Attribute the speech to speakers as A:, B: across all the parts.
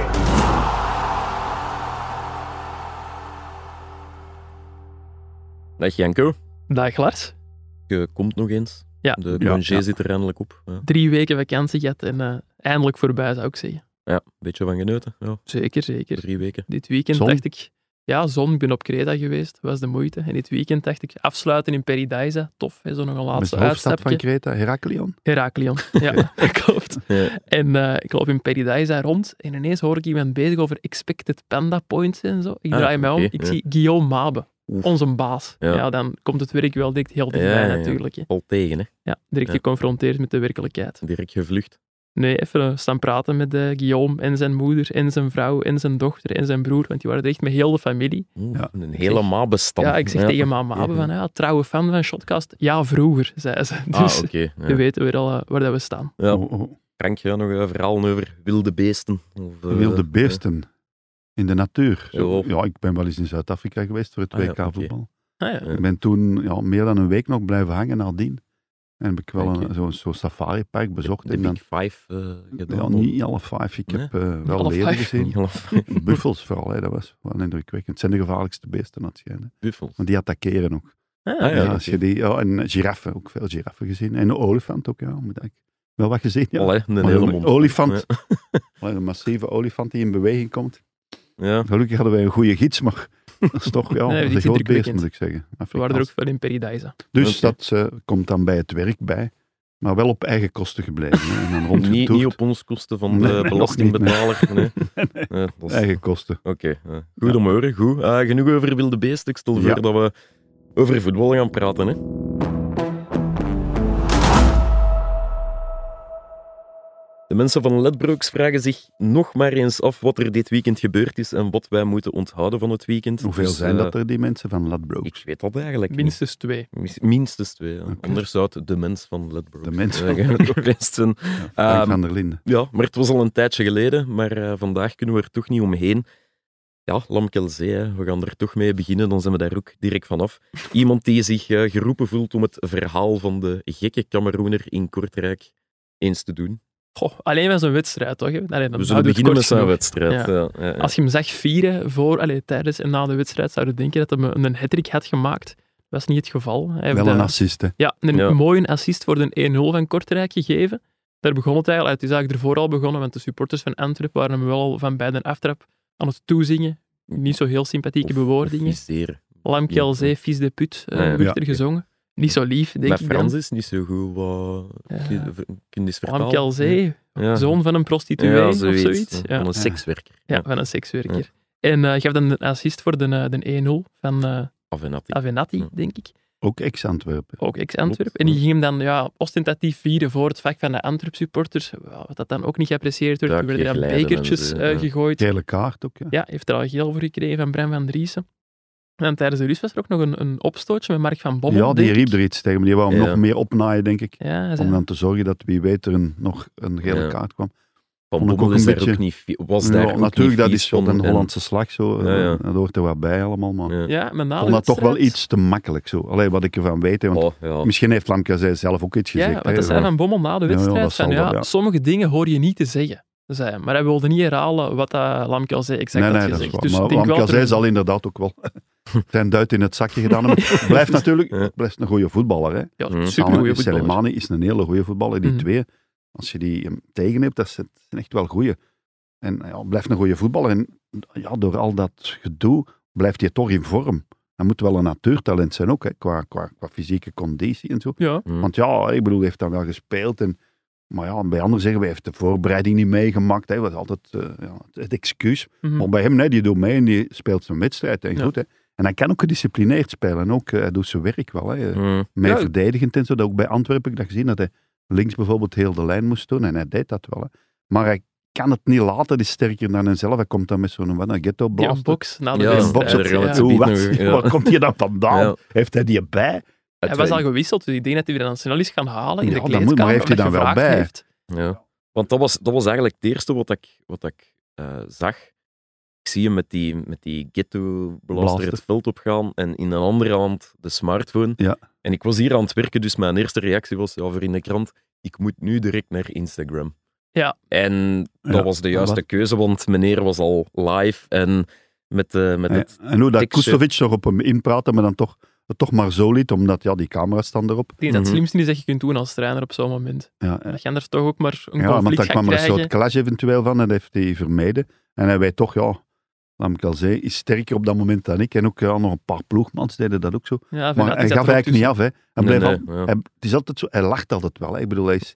A: 2.
B: Dag Janko,
C: Dag Lars.
B: je komt nog eens.
C: Ja.
B: De
D: Ja,
B: congé
D: ja.
B: zit er eindelijk op. Ja,
C: Drie weken vakantie gehad en eh, eindelijk voorbij, zou ik zeggen.
B: ja een beetje van genoten. Ja,
C: Zeker, zeker.
B: drie weken.
C: Dit weekend
D: Zon?
C: dacht ik... Ja, zon. Ik ben op Creta geweest. Was de moeite. En dit weekend dacht ik afsluiten in Paradise. Tof. hè, Zo nog een
D: Met
C: laatste
D: de hoofdstad van
C: uitstapje.
D: Creta, Heraklion.
C: Heraklion. Ja, klopt.
B: Ja.
C: En eh, ik loop in Paradise rond en ineens hoor ik iemand bezig over expected panda points en zo. Ik
B: Ah,
C: draai mij om,
B: oké,
C: ik
B: ja.
C: zie Guillaume Mabe,
B: Oef.
C: onze baas.
B: Ja.
C: Ja. dan komt het werk wel direct heel dichtbij
B: Ja, ja, ja.
C: natuurlijk. Hè.
B: Al tegen, hè?
C: Ja, direct
B: Ja.
C: geconfronteerd met de werkelijkheid.
B: Direct gevlucht.
C: Nee, even eh, staan praten met eh, Guillaume en zijn moeder en zijn vrouw en zijn dochter en zijn broer, want die waren er echt met heel de familie.
B: Oeh,
D: Ja.
B: Een hele
C: Zeg-
B: mabestand.
C: ja, ik zeg tegen mama Mabe
B: Ja.
C: van, ja, trouwe fan van Shotcast. Ja, vroeger, zei ze. Dus
B: Ah, oké.
C: we
B: Ja.
C: weten weer al eh, waar dat we staan.
B: Ja.
D: Oh, oh.
B: Frank, ja, nog een verhaal over wilde beesten. Of, eh,
D: Wilde beesten. In de natuur.
B: Zo.
D: Ja, ik ben wel eens in Zuid-Afrika geweest voor het
B: Ah, ja,
D: WK voetbal.
C: Ah, ja.
B: Ja.
D: Ik ben toen ja, meer dan een week nog blijven hangen nadien. En heb ik wel
B: Ah, Oké.
D: een- zo'n zo'n safaripark
B: de-
D: bezocht.
B: De
D: En dan,
B: Big Five eh, gedaan.
D: ja, niet alle vijf. Ik
B: Nee?
D: heb eh, wel
C: Alle
D: leren
C: vijf?
D: gezien.
B: Niet alle vijf
D: Buffels vooral, hè, dat was wel indrukwekkend. Het zijn de gevaarlijkste beesten, dat schijnt. hè.
B: buffels.
D: Want die attackeren ook.
C: Ah,
B: Ah,
D: Ja,
B: ja,
D: als
B: oké.
D: je die, ja, en giraffen, ook veel giraffen gezien. En een olifant ook, ja. Moet ik wel wat gezien, ja.
B: Allee, een
D: Maar
B: hele
D: een
B: mond.
D: olifant.
B: Ja.
D: Allee, Een massieve olifant die in beweging komt.
B: Ja.
D: Gelukkig hadden wij een goede gids, maar dat is toch ja,
C: Nee,
D: dat is
C: die
D: een
C: is
D: groot beest,
C: indrukwekkend.
D: moet ik zeggen.
C: We waren er ook
D: Afrikaans.
C: veel in Paradise.
D: Dus
B: Oké.
D: dat eh, komt dan bij het werk bij. Maar wel op eigen kosten gebleven. hè, en dan
B: Niet,
D: rondgetoerd.
B: niet op ons kosten van de
D: Nee, nee, nog
B: belastingbetaler. Nee. Nee, dat is-
D: Eigen kosten.
B: Oké, eh, goed om horen, goed. Eh, genoeg over wilde beesten. Ik stel
D: Ja.
B: voor dat we over voetbal gaan praten. Hè. De mensen van Ledbrooks vragen zich nog maar eens af wat er dit weekend gebeurd is en wat wij moeten onthouden van het weekend.
D: Hoeveel
B: Dus,
D: zijn
B: eh,
D: dat er, die mensen van Ladbroke?
B: Ik weet dat eigenlijk niet.
C: Minstens twee.
B: Mis- Minstens twee. ja.
D: Oké.
B: Anders zou het de mens van Ledbrooks
D: De mens
B: eh,
D: van
B: gaan we toch eens zijn.
D: Ja, Frank
B: Ehm,
D: van der Linden.
B: Ja, maar het was al een tijdje geleden, maar eh, vandaag kunnen we er toch niet omheen. Ja, Lamkelzee, hè, we gaan er toch mee beginnen, dan zijn we daar ook direct vanaf. Iemand die zich eh, geroepen voelt om het verhaal van de gekke Cameroener in Kortrijk eens te doen.
C: Goh, alleen was een wedstrijd, toch? Allee, dan
B: We
C: houden
B: zullen
C: het
B: beginnen met
C: kort
B: zijn
C: genoeg.
B: wedstrijd. eh, Ja. Ja, ja.
C: Als je hem zag vieren voor, allee, tijdens en na de wedstrijd, zouden denken dat hij een hat-trick had gemaakt. Dat was niet het geval. Hij heeft
D: Wel een
C: eh,
D: assist, hè.
C: ja, een
B: Ja.
C: mooie assist voor de 1-0 van Kortrijk gegeven. Daar begon het eigenlijk. Het is eigenlijk ervoor al begonnen, want de supporters van Antwerpen waren hem wel al van bij de aftrap aan het toezingen. Niet zo heel sympathieke
B: Of- of
C: bewoordingen.
B: viseren.
C: Lamke zee, fils de put, eh,
B: Ah, ja.
C: werd
D: Ja,
C: er
D: oké.
C: gezongen. Niet zo lief, denk
B: Mijn
C: ik
B: Frans
C: dan.
B: is niet zo goed. Wat...
C: Ja.
B: Kun je kun je eens vertalen?
C: Lamke zee,
B: Ja.
C: zoon van een prostituee
B: Ja,
C: of zoiets.
B: Van een sekswerker.
C: Ja,
B: Ja.
C: van een sekswerker. En eh, gaf dan een assist voor de, eh, de 1-0 van eh
B: Af en af.
C: Avenatti,
B: Ja.
C: denk ik.
D: Ook ex-Antwerpen.
C: Ook
B: Klopt,
C: ex-Antwerp. En die
B: ja.
C: ging hem dan ja, ostentatief vieren voor het vak van de Antwerp-supporters. Wel, Wat dat dan ook niet geapprecieerd werd.
B: Daar
C: Er werden dan
B: glijden
C: bekertjes
B: en zo,
C: eh,
B: ja.
C: gegooid. Ja.
D: Gele kaart ook, ja.
C: heeft er al geel voor gekregen van Bram van Driessen. En tijdens de rust was er ook nog een, een opstootje met Mark van Bommel.
D: ja, die
C: denk ik.
D: riep er iets tegen, maar die wou hem
B: Ja.
D: nog meer opnaaien, denk ik.
C: Ja, hij zei-
D: Om dan te zorgen dat wie weet er een, nog een gele
B: Ja.
D: kaart kwam.
B: Van
D: Vond ik ook
B: Bommel
D: een
B: is daar
D: beetje-
B: ook niet... fi- Was
D: Ja,
B: daar ook
D: natuurlijk,
B: niet
D: dat
B: vies
D: is op
B: van.
D: een
B: En-
D: Hollandse slag zo. eh,
B: Ja, ja.
D: Dat hoort er wat bij allemaal, maar...
B: Ja.
C: ja, maar na
D: Ik
C: de
D: vond dat toch wel
C: wedstrijd-
D: iets te makkelijk zo. Allee, wat ik ervan weet. hè, want
B: Oh, ja.
D: Misschien heeft Lamke zelf ook iets gezegd.
C: Ja,
D: hè.
C: want dat zei Van Bommel na de
D: Ja, ja,
C: wedstrijd.
D: dat zal
C: van, ja,
D: wel, ja.
C: Sommige dingen hoor je niet te zeggen, zei hij. Maar hij wilde niet herhalen wat dat Lamke al zei. Exact
D: nee,
C: had
D: nee, dat is
C: gezegd.
D: waar.
C: Dus ik
D: maar
C: denk wel dat
D: Lamke
C: er-
D: zal inderdaad ook wel zijn duit in het zakje gedaan hebben. Het blijft natuurlijk het blijft een goede voetballer. Hè.
B: Hmm.
C: Ja, supergoeie
D: Samen-
C: voetballer.
D: Soleimani is een hele goede voetballer. Die
C: Mhm.
D: twee, als je die hem tegen hebt, dat zijn dat zijn echt wel goeie. En ja, blijft een goede voetballer. En ja, door al dat gedoe blijft hij toch in vorm. Hij moet wel een natuurtalent zijn ook, hè, qua, qua, qua fysieke conditie en zo.
C: Ja,
B: Hm.
D: Want ja, ik bedoel, hij heeft dan wel gespeeld. En, maar ja, bij anderen zeggen, we heeft de voorbereiding niet meegemaakt. Hè. Dat is altijd eh, ja, het excuus.
C: mhm.
D: Maar bij hem, nee, die doet mee en die speelt zijn wedstrijd. En,
C: Ja.
D: goed, hè. en hij kan ook gedisciplineerd spelen. En ook, eh, hij doet zijn werk wel. Hè.
B: Hm.
D: Mee
C: Ja.
D: verdedigend en zo. Dat ook bij Antwerpen heb ik dat gezien dat hij links bijvoorbeeld heel de lijn moest doen. En hij deed dat wel. Hè. Maar hij kan het niet laten. Hij is sterker dan hemzelf. Hij komt dan met zo'n wat, een ghetto
C: Die
D: blast.
C: unbox na de
B: Ja,
C: wedstrijd.
D: box op
B: daar gaan we
C: ja.
B: het zo
D: Hoe,
B: biedt
D: wat?
B: nog, ja.
D: Waar komt hij dan vandaan?
B: Ja.
D: Heeft hij die bij?
C: Hij was al gewisseld, dus ik denk dat hij weer snel is gaan halen in
D: Ja,
C: de
D: dat moet, maar
C: kleedkamer.
D: heeft hij
C: omdat
D: dan wel
C: gevraagd
D: bij?
C: heeft.
B: Ja. Want dat was, dat was eigenlijk het eerste wat ik, wat ik eh, zag. Ik zie hem met die, met die ghetto-blaster
D: Blaster.
B: het veld opgaan en in een andere hand de smartphone.
D: Ja.
B: En ik was hier aan het werken, dus mijn eerste reactie was ja, voor in de krant, ik moet nu direct naar Instagram.
C: Ja.
B: En dat
D: Ja,
B: was de juiste
D: maar-
B: keuze, want meneer was al live en met, de, met het...
D: En hoe dat
B: tekstje.
D: Kustovic erop hem inpraatte, maar dan toch, het toch maar zo liet, omdat ja, die camera's staan erop.
C: Ik denk dat
B: Mhm.
C: het slimste is dat je kunt doen als trainer op zo'n moment.
D: Ja, eh,
C: Dat je anders toch ook maar een
D: ja want
C: conflict
D: daar
C: gaat
D: kwam er een soort
C: krijgen.
D: clash eventueel van en dat heeft hij vermeden. En hij weet toch, ja, laat ik al zeggen, is sterker op dat moment dan ik. En ook ja, nog een paar ploegmans deden dat ook zo.
C: Ja,
D: Maar hij gaf eigenlijk niet af, hè. Hij
B: Nee,
D: bleef al-
B: nee, ja.
D: Hij, het is altijd zo, hij lacht altijd wel. hè. Ik bedoel, hij, is,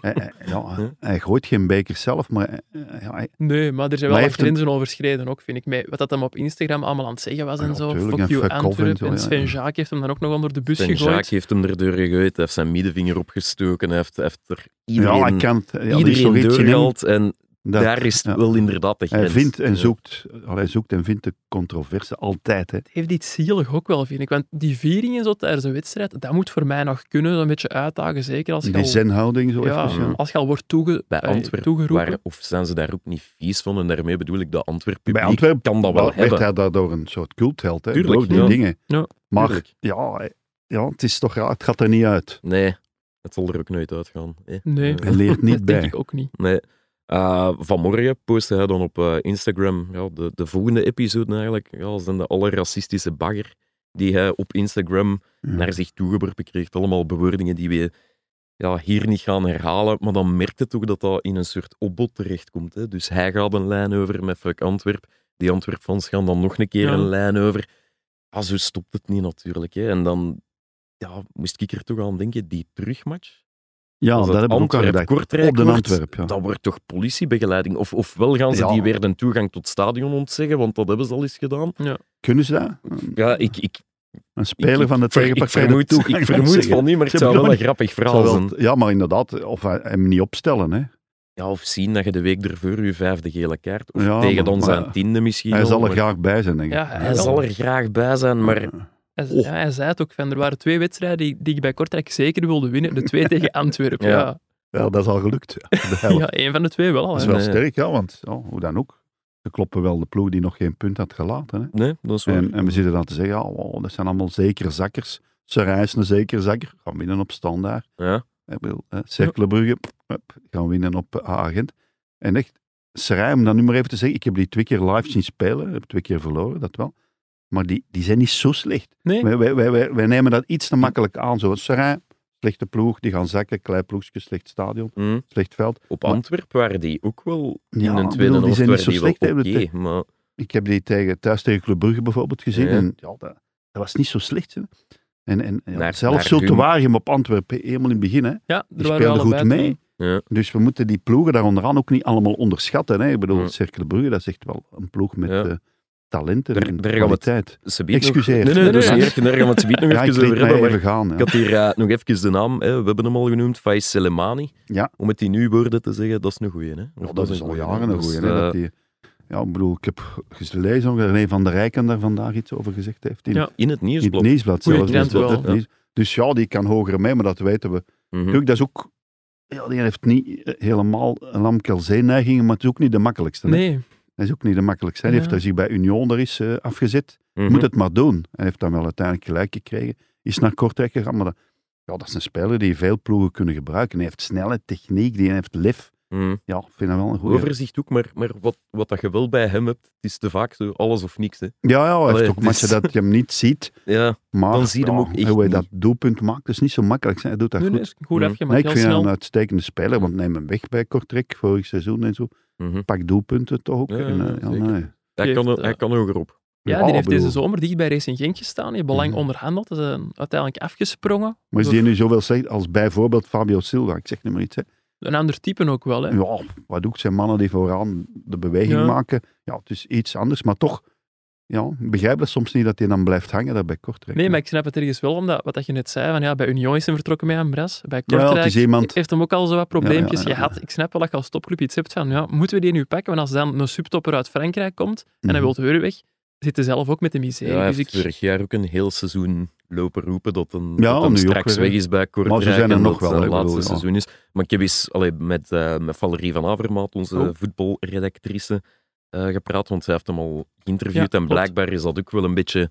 D: hij, hij- ja,
B: Ja.
D: hij gooit geen beker zelf, maar hij- ja, hij,
C: Nee, maar er zijn wel
D: Maar hij
C: wat
D: heeft een-
C: grenzen overschreden ook, vind ik. Met Wat dat hem op Instagram allemaal aan het zeggen was en
D: Ja,
C: zo.
D: tuurlijk, en
C: Fuck you
D: fuck off en zo,
C: Antwerpen.
D: ja,
C: En Sven
D: ja.
C: Jaak heeft hem dan ook nog onder de bus
B: Zijn Jaak
C: gegooid.
B: heeft hem er deur gegooid, hij heeft zijn middenvinger opgestoken, hij heeft, hij heeft er
D: ja,
B: iedereen,
D: hij kan het. Ja, er is
B: iedereen
D: toch iets in hem
B: doorgehaald en
D: dat-
B: daar is het
D: ja.
B: wel inderdaad de
D: Hij
B: grens. Eh,
D: vindt en
B: Ja.
D: zoekt, al hij zoekt en vindt de controverse altijd. Hè.
C: heeft iets zielig ook wel, vind ik. Want die viering en zo tijdens een wedstrijd, dat moet voor mij nog kunnen. Een beetje uitdagen, zeker als je
D: Die
C: al,
D: zenhouding zo
C: ja,
D: even. Ja.
C: als je al wordt toege,
B: Bij
C: eh,
B: Antwerpen
C: toegeroepen.
B: waren, of zijn ze daar ook niet vies van en daarmee bedoel ik dat Antwerp
D: Bij
B: publiek
D: Antwerpen
B: kan dat wel
D: Wel werd
B: hebben.
D: hij daardoor een soort cultheld. Hè,
B: Tuurlijk,
D: door die
B: ja.
D: dingen.
C: Ja,
D: maar
B: tuurlijk.
D: ja, hij- ja, het is toch raar, het gaat er niet uit.
B: Nee, het zal er ook nooit uitgaan. hè. Eh,
C: Nee,
B: Ja.
D: Hij leert niet
C: dat denk
D: bij.
C: ik ook niet.
B: Nee. Eh, vanmorgen postte hij dan op eh, Instagram ja, de, de volgende episode eigenlijk. Ja, zijn de allerracistische bagger die hij op Instagram
D: Ja.
B: naar zich toegeworpen kreeg. Allemaal bewoordingen die we ja, hier niet gaan herhalen. Maar dan merkt het toch dat dat in een soort opbod terechtkomt. Hè? Dus hij gaat een lijn over met Fuck Antwerp. Die Antwerpfans gaan dan nog een keer
C: Ja.
B: een lijn over. Ah, zo stopt het niet natuurlijk. Hè? En dan ja, moest ik er toch aan denken, die terugmatch.
D: Ja,
B: Als
D: dat
B: het
D: heb ik ook al
B: Antwerp
D: gedacht.
B: Kortrijk
D: Op de
B: wordt,
D: Antwerp, ja.
B: Dat wordt toch politiebegeleiding? Of, ofwel gaan ze
D: Ja.
B: die weer de toegang tot het stadion ontzeggen, want dat hebben ze al eens gedaan.
D: Kunnen ze dat?
B: Ja, ik, ik,
D: Een speler
B: ik-
D: van de
B: ik ver-
D: tegenpartij.
B: Ik vermoed,
D: dat
B: ik
D: toegang
B: vermoed
D: ontzeggen.
B: van niet, maar het
D: Ze
B: zou
D: hebben
B: wel een
D: nog
B: grappig
D: Zou
B: verhaal
D: wel-
B: zijn.
D: ja, maar inderdaad, of hij- hem niet opstellen. Hè.
B: Ja, of zien dat je de week ervoor je vijfde gele kaart, of
D: Ja,
B: tegen
D: maar-
B: dan
D: Ah, maar-
B: zijn tiende misschien
D: Hij
B: al,
D: zal er
B: maar
D: graag bij zijn, denk ik.
C: Ja,
B: hij zal er graag bij zijn, maar
C: Hij,
B: Oh.
C: ja, hij zei het ook, van, er waren twee wedstrijden die, die ik bij Kortrijk zeker wilde winnen. De twee tegen Antwerpen.
B: Ja.
C: Ja.
D: Ja, dat is al gelukt. ja. De
C: Ja.
D: helft.
C: één van de twee wel al.
D: Dat is
C: hè.
D: wel
B: Nee.
D: sterk, ja, want ja, hoe dan ook. Ze kloppen wel de ploeg die nog geen punt had gelaten. Hè.
B: nee, dat is waar.
D: En, en we zitten dan te zeggen, ja, wow, dat zijn allemaal zekere zakkers. Serai is een zekere zakker, gaan winnen op standaard.
B: Ja.
D: Ik bedoel, hè, Cerkelenbrugge, pff, hup, gaan winnen op eh, agent. En echt, Serai, om dan nu maar even te zeggen, ik heb die twee keer live zien spelen, heb twee keer verloren, dat wel. Maar die, die zijn niet zo slecht.
C: Nee.
D: Wij, wij, wij, wij- wij nemen dat iets te makkelijk aan. Zo, Serai, slechte ploeg, die gaan zakken, klein ploegje, slecht stadion,
B: Hm.
D: slecht veld.
B: Op
D: Maar-
B: Antwerpen waren die ook wel in
D: Ja,
B: een
D: ik
B: tweede
D: bedoel,
B: helft
D: die zijn niet
B: waren
D: zo
B: die wel
D: slecht, hè,
B: oké,
D: dat-
B: maar
D: Ik heb die tegen, thuis tegen Club Brugge bijvoorbeeld gezien.
B: Ja.
D: En ja, dat, dat was niet zo slecht. Hè. En, en ja,
B: Naar- naar
D: zelfs Zulte
B: Gun.
D: Waregem op Antwerpen, helemaal in het begin. Hè.
C: Ja, er
D: Die
C: waren
D: speelden goed
C: allebei twee.
D: mee.
B: Ja.
D: Dus we moeten die ploegen daar onderaan ook niet allemaal onderschatten. Hè. Ik bedoel,
B: Ja.
D: Cercle Brugge, dat is echt wel een ploeg met
B: Ja.
D: eh, talenten
B: Daar-
D: en
B: daar gaan we het
D: kwaliteit.
B: ze bieden nog...
D: Excuseer.
B: Nee, nee,
C: Nee,
B: dus
C: nee.
B: hier daar gaan we het ze bieden nog
D: Ja, ik
B: even
D: liet
B: over
D: mij
B: hebben, maar
D: even gaan.
B: Ik
D: ja.
B: had hier eh, nog even de naam, hè. we hebben hem al genoemd, Faiz Selemani.
D: Ja.
B: Om het in uw woorden te zeggen, dat is een goeie. Hè? Of
D: Ja, dat is al
B: goeie, hè.
D: jaren een
B: Dus,
D: goeie.
B: eh,
D: hè, dat die- Ja, ik bedoel, ik heb gelezen dat René van der Rijken daar vandaag iets over gezegd heeft. In,
C: Ja.
B: in het
D: in het
B: nieuwsblad.
D: nieuwsblad
C: Goeie
D: zelfs.
C: krant
D: Dus dat-
C: wel,
D: dat- Dus ja, die kan hoger mee, maar dat weten we.
B: Mhm.
D: Tuurlijk, dat is ook... Ja, die heeft niet eh, helemaal een lamkelzee-neigingen, maar het is ook niet de makkelijkste. hè.
C: Nee,
D: Dat is ook niet de makkelijkste. Hij
C: Ja.
D: heeft daar zich bij Union er is eh, afgezet.
B: Mhm.
D: Moet het maar doen. Hij heeft dan wel uiteindelijk gelijk gekregen. Is naar Kortrijk gegaan, maar dat, ja, dat is een speler die veel ploegen kunnen gebruiken. Hij heeft snelle techniek, die heeft lef.
B: Mhm.
D: Ja, ik vind dat wel een goede.
B: Overzicht ook, maar, maar wat, wat dat je wel bij hem hebt, het is te vaak zo alles of niks. Hè.
D: Ja, ja, hij
B: Allee,
D: heeft ook
B: het is-
D: matchen dat je hem niet ziet.
B: Ja,
D: Maar
B: Dan zie je hem
D: ja,
B: ook echt
D: hoe hij
B: niet.
D: dat doelpunt maakt, is niet zo makkelijk. hè. Hij doet dat
C: nee, nee,
D: goed.
C: is goed
B: Mm.
C: afgemaakt.
D: Nee, ik
C: heel
D: vind hem
C: snel.
D: een uitstekende speler, want neem hem weg bij Kortrijk vorig seizoen en zo.
B: Mhm.
D: Pak doelpunten toch ook.
B: Ja,
D: en, eh,
B: ja, zeker.
D: ja, nee.
B: hij,
C: Die
B: kan,
C: heeft, eh,
B: hij kan hogerop.
C: Ja,
D: Ja,
C: die heeft deze
D: bedoel-
C: zomer dicht bij Racing Genk gestaan. Die heeft belang
D: Oh, Mhm.
C: onderhandeld. Ze zijn uiteindelijk afgesprongen.
D: Maar is
C: Door
D: die nu zoveel slecht als bijvoorbeeld Fabio Silva? Ik zeg niet meer iets. Hè.
C: Een ander type ook wel. Hè.
D: Ja, wat ook zijn mannen die vooraan de beweging
C: Ja.
D: maken. Ja, het is iets anders, maar toch. Ja, ik begrijp dat soms niet dat hij dan blijft hangen daar bij Kortrijk.
C: Nee, maar ik snap het ergens wel, omdat wat dat je net zei, van, ja, bij Union is hem vertrokken met Ambras. Bij
D: Ja,
C: Kortrijk
D: het is iemand-
C: heeft hem ook al zo wat probleempjes
D: Ja, ja, ja,
C: gehad. Ik snap wel dat je als topclub iets hebt van, ja, moeten we die nu pakken? Want als dan een subtopper uit Frankrijk komt en hij
D: Mhm.
C: wil Heuren weg, zit hij zelf ook met de
B: Ja,
C: miserie.
B: hij
C: dus
B: heeft
C: ik,
B: vorig jaar ook een heel seizoen lopen roepen dat hem,
D: Ja,
B: dat hem
D: nu ook
B: straks
D: weer, hè.
B: weg is bij Kortrijk
D: zijn er
B: en
D: nog
B: dat
D: wel,
B: het zijn
D: hè, ik
B: laatste
D: bedoel, ja.
B: seizoen is. Maar ik heb eens allee, met, eh, met Valerie van Avermaat, onze
C: Oh.
B: voetbalredactrice, eh, gepraat, want zij heeft hem al geïnterviewd.
C: Ja,
B: en
C: klopt.
B: blijkbaar is dat ook wel een beetje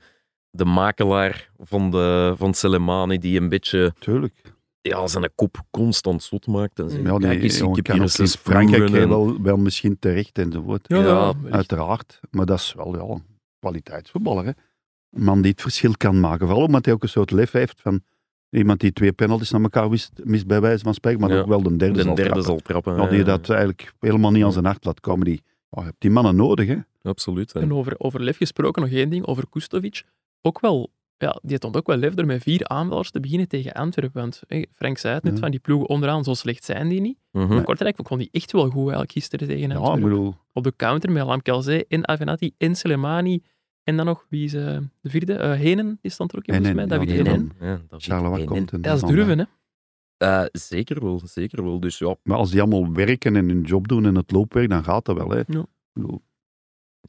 B: de makelaar van, de, van Selemani, die een beetje
D: Tuurlijk.
B: ja, zijn kop constant zot maakt. En zegt,
D: Ja,
B: kijk
D: die
B: eens, ik
D: jongen
B: heb
D: kan
B: hier
D: ook
B: een
D: in
B: zes
D: Frankrijk
B: ploegen en-
D: wel, wel misschien terecht enzovoort.
B: Ja, ja.
D: Uiteraard, maar dat is wel ja, een kwaliteitsvoetballer. Hè? Een man die het verschil kan maken. Vooral omdat hij ook een soort lef heeft van iemand die twee penalties naar elkaar mist, mist bij wijze van spreken, maar
B: Ja.
D: ook wel de derde
B: de
D: zal
B: derde
D: trappen.
B: zal trappen.
D: Ja, die
B: ja.
D: dat eigenlijk helemaal niet aan zijn hart laat komen. Die, ja, je hebt die mannen nodig, hè.
B: Absoluut. hè.
C: En over, over lef gesproken nog één ding, over Kustovic. Ook wel, ja, die toont ook wel lef door met vier aanvallers te beginnen tegen Antwerpen. Want hé, Frank zei het net,
D: Ja.
C: van die ploegen onderaan, zo slecht zijn die niet.
B: Mhm.
C: Maar Kortrijk vond die echt wel goed eigenlijk gisteren tegen
D: Ja,
C: Antwerpen.
D: ik bedoel,
C: Op de counter met Lamkelzee en Avenatti en Selemani. En dan nog, wie is eh, de vierde? Eh, Henen, die stond er ook in, volgens mij.
D: Henen,
C: David
D: ja,
B: En-
D: die
C: Henen.
D: Henen.
B: en- ja, daar zit
D: Charleroi
B: en-
D: komt.
B: en-
D: en
C: Dat is
D: dan,
C: durven, hè.
B: Eh, zeker wel, zeker wel. Dus ja,
D: Maar als die allemaal werken en hun job doen en het loopwerk, dan gaat dat wel,
B: Hm,
D: hè.
C: Ja.
D: Ik bedoel,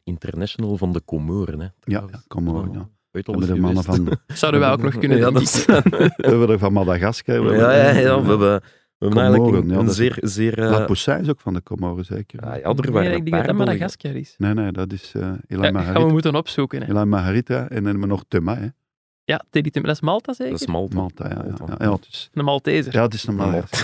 B: international van de Comoren. Hè,
D: ja, ja, kom maar.
B: Oh,
D: Ja.
B: Ooit al
D: Hebben
B: eens
D: de mannen
B: geweest.
D: van,
C: Zouden wij ook nog kunnen
B: ja,
C: doen.
B: dat is- ja,
D: we hebben er van Madagaskar. we
B: ja,
D: hebben-
B: ja, we hebben, we hebben eigenlijk
D: Comoren,
B: een,
D: ja,
B: een
D: dat is-
B: zeer... zeer eh,
D: La Poussin is ook van de Comoren, zeker.
B: ah, ja,
C: Nee,
B: er waren
C: ik denk dat dat
B: een paar Belgen.
C: Madagaskar is.
D: Nee, nee, dat is eh Elan
C: Ja, dat gaan we
D: Maharita.
C: moeten opzoeken. Hè.
D: Elan Maharita en dan hebben we nog Tema, hè.
C: Ja, Teddy Tim, dat is Malta
B: Dat
C: zeker?
B: is Malta.
D: Malta, ja. ja,
B: Malta.
D: ja. Ja, het is,
C: Een Malteser.
D: ja, het is normaal.
B: Malta.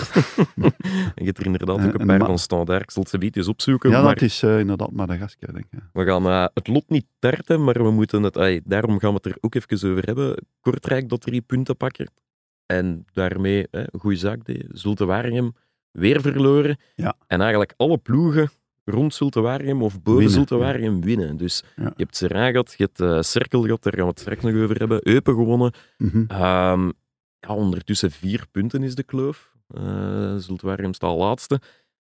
B: en je hebt er inderdaad ook
D: En-
B: een
D: en
B: paar
D: Ma-
B: van standaard. Ik zal het ze eens opzoeken.
D: Ja,
B: maar
D: dat is eh, inderdaad Madagaskar, denk ik. ja.
B: We gaan eh, het lot niet tarten, maar we moeten het... ai, daarom gaan we het er ook even over hebben. Kortrijk dat drie punten pakken. En daarmee, hè, een goede zaak, deed. Zulte Waregem weer verloren.
D: Ja.
B: En eigenlijk alle ploegen rond Zulte Waregem of boven
D: Winnen,
B: Zulte
D: ja.
B: Waregem winnen. Dus
D: Ja.
B: je hebt Serra gehad, je hebt eh, Cirkel gehad, daar gaan we het straks nog over hebben. Eupen gewonnen.
D: Mhm.
B: Ehm, ja, ondertussen vier punten is de kloof. Eh Zulte Waregem staat laatste.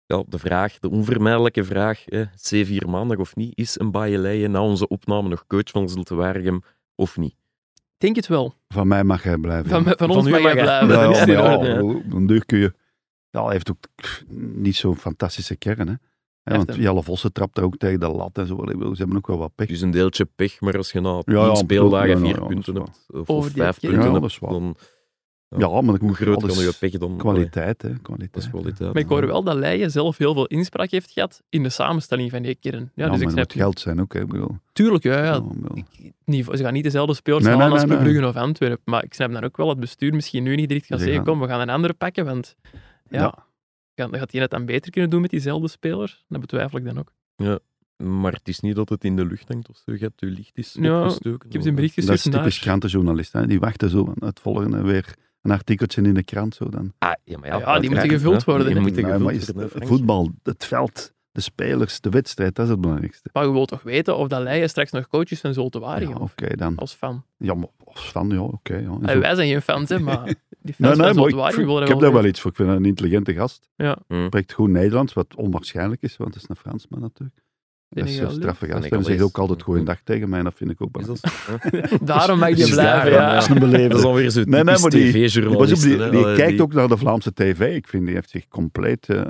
B: Ja, de vraag, de onvermijdelijke vraag, hè, C4 maandag of niet, is een Baaieleien na onze opname nog coach van Zulte Waregem of niet?
C: Ik denk het wel.
D: Van mij mag hij blijven.
C: Van, van ons
B: u
C: mag
B: mag
C: jij
B: hij-
C: blijven. Dus
D: Ja,
C: dat is
D: ja,
C: in
D: maar ja,
C: orde.
B: ja.
D: hoe- dan duur kun je... Ja, hij heeft ook pff, niet zo'n fantastische kern, hè. Ja, want
C: Echt, hè?
D: Jelle Vossen trapt daar ook tegen de lat en zo. Ik bedoel, Ze hebben ook wel wat pech.
B: Dus een deeltje pech, maar als je na tien
D: Ja, ja,
B: speeldagen
D: bedoel, ja,
B: vier
D: ja,
B: punten
D: dat is
B: hebt, of,
C: Over
B: of
C: die
B: vijf
C: keer.
B: punten
D: Ja, dat
B: hebt,
D: is waar.
B: dan
D: Ja, maar
B: hoe groot kan
D: alles-
B: je pech dan... eh,
D: Kwaliteit, hè.
B: Dat
D: Kwaliteit.
B: is kwaliteit.
C: Maar ik hoor wel dat Leijen zelf heel veel inspraak heeft gehad in de samenstelling van die kern. Ja,
D: Ja,
C: dus
D: maar
C: ik
D: het
C: snap
D: moet geld zijn ook, hè. Ik bedoel,
C: Tuurlijk, ja, ja.
D: ik bedoel,
C: Ik- Niet, ze gaan niet dezelfde spelers
D: Nee,
C: halen
D: nee,
C: als
D: nee,
C: Club
D: nee.
C: Brugge of Antwerpen. Maar ik snap dan ook wel dat het bestuur misschien nu niet direct gaat
D: Ze
C: zeggen,
D: gaan-
C: kom, we gaan een andere pakken, want ja,
D: Ja.
C: Gaat, gaat die het dan beter kunnen doen met diezelfde spelers? Dat betwijfel ik dan ook.
B: Maar het is niet dat het in de lucht hangt of zo. Je hebt je licht is
C: Ja,
B: opgestoken.
C: Ik heb ze een bericht
D: Dat is
C: gestuurd
D: typisch
C: dus naar...
D: krantenjournalist. Hè? Die wachten zo van het volgende weer een artikeltje in de krant. Zo dan.
B: Ah, ja, maar ja,
C: Ja, die moeten
B: uiteraard,
C: gevuld
B: hè.
C: worden,
B: Die
C: hè.
B: moeten
D: Nou, maar
B: gevuld
D: is
B: worden, hè,
D: het
B: Frank.
D: voetbal, het veld, de spelers, de wedstrijd, dat is het belangrijkste.
C: Maar je wilt toch weten of dat Leijen straks nog coaches van Zulte
D: Ja,
C: Waregem
D: oké
C: of
D: dan.
C: als fan.
D: Ja, maar als fan, ja, oké. ja.
C: Allee, Eh, wij zijn geen fans, hè, maar die
D: Nee,
C: fans
D: nee,
C: van
D: maar
C: Zulte
D: ik,
C: Waregem willen dat
D: ik heb
C: wel
D: daar wel
C: weten.
D: iets voor. Ik vind dat een intelligente gast.
C: Ja.
B: Hm.
D: Spreekt goed Nederlands, wat onwaarschijnlijk is, want het is een Fransman natuurlijk. Dat is een
C: Senegal,
D: straffe gast. En
B: Senegalees.
D: hij zegt ook altijd goeiedag tegen mij, en dat vind ik ook
B: Is
D: wel.
B: dat zo? Hè?
C: Daarom mag
B: Dus
C: je blijven,
B: daarom,
C: ja.
B: ja.
D: Dat is een
B: Dat is
D: beleefde.
B: alweer zo'n
D: Nee, nee,
B: typisch
D: maar die- Pas op,
B: tv-journalist.
D: die,
B: hè.
D: die
B: Allee,
D: kijkt
B: die-
D: ook naar de Vlaamse tv. Ik vind, die heeft zich compleet eh,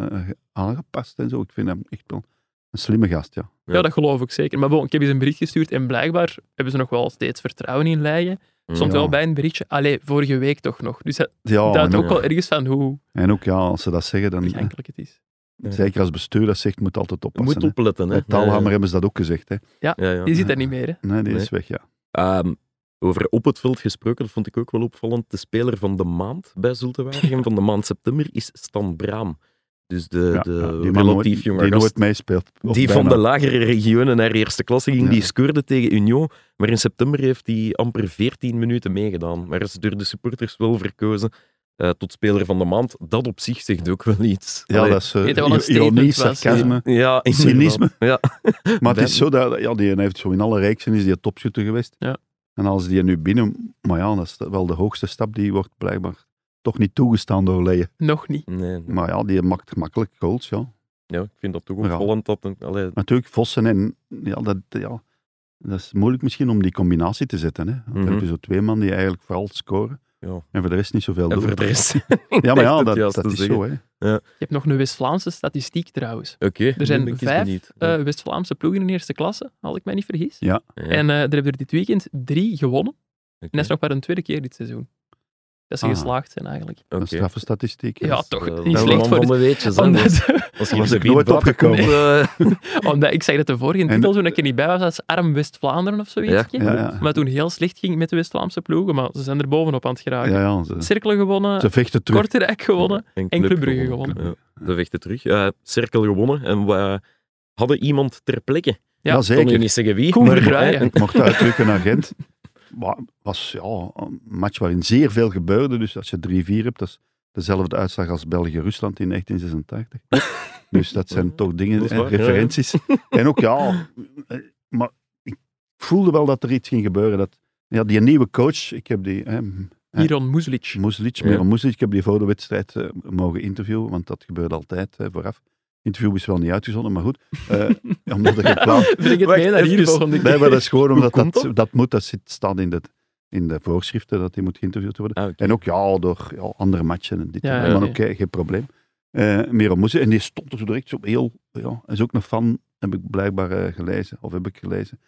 D: aangepast en zo. Ik vind hem echt wel een slimme gast, ja.
B: Ja.
C: Ja, dat geloof ik zeker. Maar bon, ik heb eens een bericht gestuurd en blijkbaar hebben ze nog wel steeds vertrouwen in Leiden. Soms
D: Ja.
C: wel bij een berichtje, allee, vorige week toch nog. Dus dat
D: Ja,
C: duidt
D: en ook,
C: ook wel ergens van hoe
D: en ook ja, als ze dat zeggen, dan... eh,
C: begrijpelijk het is.
D: Zeker als bestuur dat zegt, moet altijd
B: Je
D: oppassen.
B: moet opletten, hè.
D: Met Taalhammer hebben ze dat ook gezegd. Hè.
B: Ja, ja.
C: Die zit daar niet meer, hè.
D: Nee, die
B: Nee.
D: is weg, ja.
B: Ehm, over op het veld gesproken, dat vond ik ook wel opvallend. De speler van de maand bij Zulte Waregem, van de maand september, is Stan Braam. Dus de,
D: Ja,
B: de
D: ja, man nooit-
B: relatief jonge
D: Die
B: gast.
D: nooit meespeelt. Of
B: die van
D: bijna.
B: de lagere regionen naar eerste klasse ging,
D: Ja.
B: die scoorde tegen Union. Maar in september heeft hij amper 14 minuten meegedaan. Maar is door de supporters wel verkozen eh, tot speler van de maand. Dat op zich zegt ook wel iets.
D: Ja,
B: Allee, eh,
D: dat is eh,
C: Weet je wat een statement
D: ironie,
C: was?
D: sarcasme.
B: ja, inderdaad.
D: cynisme.
B: Ja.
D: Maar het is zo dat... Ja, die heeft zo in alle reeksen is die topschutter geweest.
C: Ja.
D: En als die nu binnen... Maar ja, dat is wel de hoogste stap. Die wordt blijkbaar toch niet toegestaan door Leyen.
C: Nog niet.
B: Nee,
D: Maar ja, die maakt gemakkelijk goals, ja.
B: ja, ik vind dat toch
D: Ja.
B: opvallend. Dat een, allee,
D: Natuurlijk, Vossen en... Ja, dat... Ja, dat is moeilijk misschien om die combinatie te zetten. Hè? Want
B: Mhm.
D: Dan heb je zo twee man die eigenlijk vooral scoren.
B: Ja.
D: En voor de rest niet zoveel
B: en
D: doen.
B: voor de rest.
D: Ja, maar
B: Echt
D: ja,
B: het
D: dat,
B: juiste
D: dat is
B: zeggen.
D: zo, hè.
C: Je hebt nog een West-Vlaamse statistiek trouwens.
B: Oké,
C: Er
B: nu
C: zijn
B: ben ik eens
C: vijf
B: benieuwd.
C: Eh, West-Vlaamse ploegen in eerste klasse, als ik mij niet vergis.
B: Ja,
C: En eh, er hebben er dit weekend drie gewonnen.
B: oké.
C: En dat is nog maar een tweede keer dit seizoen. dat ze
D: Ah.
C: geslaagd zijn eigenlijk.
D: Een straffe statistiek.
C: Ja,
D: Dat is-
C: Ah, toch,
B: eh,
C: niet
B: dat is
C: slecht
B: man
C: voor
B: van
C: de-
B: de weetjes. hè.
C: Omdat,
B: Als
D: was
B: hier
D: ik
B: de
D: nooit opgekomen.
C: omdat ik zei dat de vorige
D: En-
C: titel, toen ik er niet bij was, dat is Arm West-Vlaanderen of zoiets.
B: Ja.
D: Ja, ja.
C: Maar toen heel slecht ging met de West-Vlaamse ploegen, maar ze zijn er bovenop aan het geraken.
D: Ja, ja, ze,
C: Cirkelen gewonnen,
D: ze vechten terug.
C: Kortrijk gewonnen.
B: Club
C: Club Brugge
D: gewonnen.
B: Ja, de vechten terug. Eh, cirkel gewonnen. En we eh, hadden iemand ter plekke.
C: Ja,
D: Ja,
B: Ik kon je
D: zeker.
B: niet zeggen wie.
C: Koen
B: maar-
C: Verbrugge.
D: Ik mocht uitdrukken naar Gent. Maar het was ja, een match waarin zeer veel gebeurde. Dus als je 3-4 hebt, dat is dezelfde uitslag als België-Rusland in 1986. Dus dat zijn toch dingen,
B: Dat is
D: hè,
B: waar, ja, ja.
D: referenties. En ook ja, eh, maar ik voelde wel dat er iets ging gebeuren. Dat, ja, die nieuwe coach, ik heb die, hè,
C: Iron Muslic.
D: Muslic,
B: Ja.
D: Miran Muslic. Ik heb die voor de wedstrijd eh, mogen interviewen, want dat gebeurde altijd eh, vooraf. Interview is wel niet uitgezonden, maar goed. Eh, omdat ik het plan...
C: Vind ik het
B: Wacht,
C: mee naar hier
B: even.
C: volgende
D: Nee,
C: keer.
D: maar dat is gewoon omdat
B: komt
D: dat, dat moet, dat zit, staat in de, in de voorschriften dat hij moet geïnterviewd worden.
B: Ah, oké.
D: En ook ja, door ja, andere matchen en dit.
C: Ja,
D: en dat.
B: ja,
D: maar
C: ja.
D: oké, geen probleem. Eh Miran Muslic, en die stond er zo direct zo heel... Ja, is ook een fan, heb ik blijkbaar eh, gelezen, of heb ik gelezen,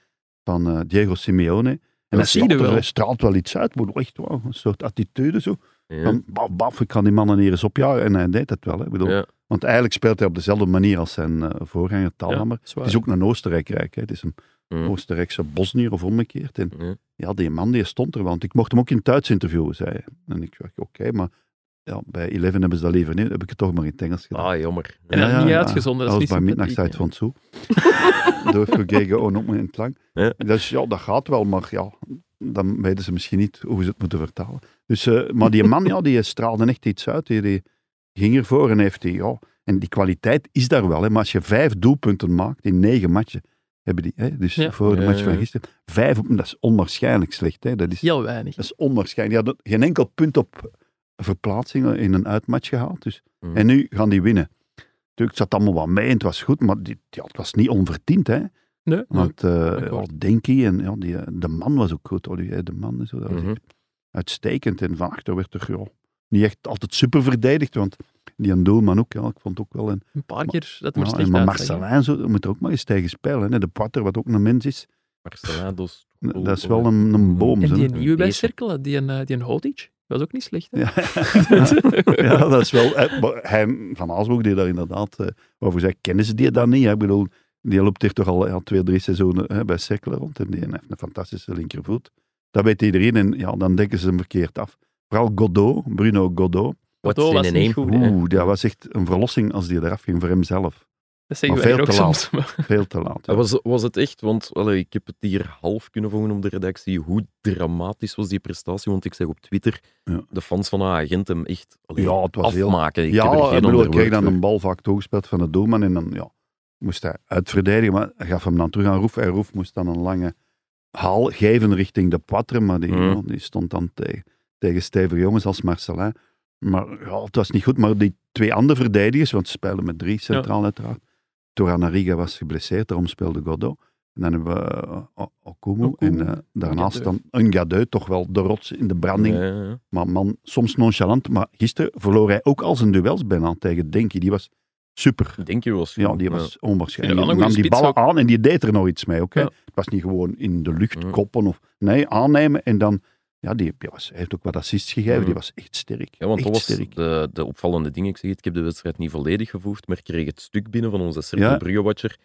D: van eh, Diego Simeone. En
C: Dat
D: hij
C: zie je
D: straalt, er-
C: wel.
D: hij straalt wel iets uit, maar echt wauw, een soort attitude zo.
B: Ja.
D: Van, baf, baf, ik kan die mannen hier eens opjagen. En hij deed dat wel. Hè. Ik bedoel,
B: Ja.
D: Want eigenlijk speelt hij op dezelfde manier als zijn eh, voorganger Talhammer.
C: Zwaar.
D: het is ook een Oostenrijkrijk. Hè. Het is een
B: Mm.
D: Oostenrijkse Bosnier of omgekeerd. En
B: Ja.
D: ja, die man die stond er. Want ik mocht hem ook in het Duits interviewen, zei hij. En ik dacht, oké, maar ja, bij Eleven hebben ze dat liever niet. heb ik het toch maar in het Engels gedaan.
B: Ah, jammer.
C: En dat niet uitgezonden, dat is
D: Als
C: niet
D: bij
C: sympathiek,
D: Midnight Side
C: ja.
D: van Soe. Doorgekeken, oh, nog maar in het lang.
B: Ja.
D: Dus ja, dat gaat wel, maar ja, dan weten ze misschien niet hoe ze het moeten vertalen. Dus, eh, maar die man, ja, die straalde echt iets uit. Die, die ging ervoor en heeft die, ja... En die kwaliteit is daar wel, hè. Maar als je vijf doelpunten maakt in negen matchen, hebben die, hè, dus
C: Ja.
D: voor de
B: Ja,
D: match
B: ja,
D: van
B: ja.
D: gisteren, vijf op, dat is onwaarschijnlijk slecht, hè. Dat is,
C: Heel weinig.
D: dat is onwaarschijnlijk. Die hadden geen enkel punt op verplaatsingen in een uitmatch gehaald. Dus.
B: Mm.
D: En nu gaan die winnen. Natuurlijk, het zat allemaal wat mee en het was goed, maar dit, ja, het was niet onverdiend. Hè?
C: Nee,
D: Want eh ja,
C: akkoord.
D: Denkie en ja, die, eh, de man was ook goed, Olivier de man. en Zo, dat was
B: Mhm.
D: echt uitstekend. En van achter werd er ja, niet echt altijd super verdedigd, want die een doelman ook, ja, ik vond het ook wel. En,
C: een paar keer dat
D: ja,
C: maar
D: en
C: slecht
D: maar
C: uitzag, hè.
D: Marcelijn zo, moet er ook maar eens tegen spelen. Hè? De Potter, wat ook een mens is,
B: Marcelados.
D: dat is wel een, een boom.
C: En
D: zo, hè.
C: die nieuwe bij
B: Deze.
C: Cirkel, die, een, eh, die een Hotic, was ook niet slecht. hè.
D: Ja. ja, dat is wel. eh, maar Hij, van Aalsbroek deed daar inderdaad eh, over. Zij kennen ze die dat niet. Hè? Ik bedoel, die loopt hier toch al ja, twee, drie seizoenen hè, bij Cercle rond. En die heeft een fantastische linkervoet. Dat weet iedereen. En ja, dan denken ze hem verkeerd af. Vooral Godot, Bruno Godot.
B: Wat
C: Bordeaux
B: zijn
C: was
B: in
C: niet
B: één
C: goed, hè.
D: Oeh, dat was echt een verlossing als die eraf ging voor hemzelf.
C: Dat zeggen
D: Maar
C: wij
D: veel
C: hier ook
D: te laat.
C: soms. maar-
D: Veel te laat. ja.
B: Was, was het echt, want allee, ik heb het hier half kunnen volgen op de redactie, hoe dramatisch was die prestatie? Want ik zeg op Twitter,
D: Ja.
B: de fans van haar agent hem echt allee,
D: Ja, het was heel
B: afmaken. Ik
D: ja,
B: heb er geen
D: ik bedoel,
B: ander
D: ik kreeg
B: woord
D: dan
B: voor.
D: een bal vaak toegespeeld van de doelman en dan ja, moest hij uitverdedigen, maar hij gaf hem dan terug aan Roef. En Roef moest dan een lange haal geven richting de Poitre, maar die,
B: Mhm.
D: ja, die stond dan tegen, tegen stevige jongens als Marcelin. Maar ja, het was niet goed, maar die twee andere verdedigers, want ze spelen met drie centraal uiteraard. Toranariga was geblesseerd, daarom speelde Godot. En dan hebben we eh, O- Okumu,
C: Okumu,
D: en eh, daarnaast dan Ungadeu, toch wel de rots in de branding.
B: Ja, ja, ja.
D: Maar man, soms nonchalant. Maar gisteren verloor hij ook al zijn duels bijna tegen Denki. Die was super.
B: Denk je was
D: Ja,
B: goed,
D: die was onwaarschijnlijk.
C: Ja, wel
D: Die
C: een
D: nam
C: goede
D: die
C: spits
D: ballen aan en die deed er nog iets mee. Ook, hè.
C: Ja.
D: Het was niet gewoon in de lucht
B: Mm.
D: koppen. Of, nee, aannemen en dan... Ja, die, die was, hij heeft ook wat assists gegeven.
B: Mm.
D: Die was echt sterk.
B: Ja, want
D: echt
B: dat was
D: sterk.
B: de, de opvallende ding. Ik zeg het, ik heb de wedstrijd niet volledig gevoerd, maar ik kreeg het stuk binnen van onze Cirkel
D: Ja.
B: Brugge-watcher.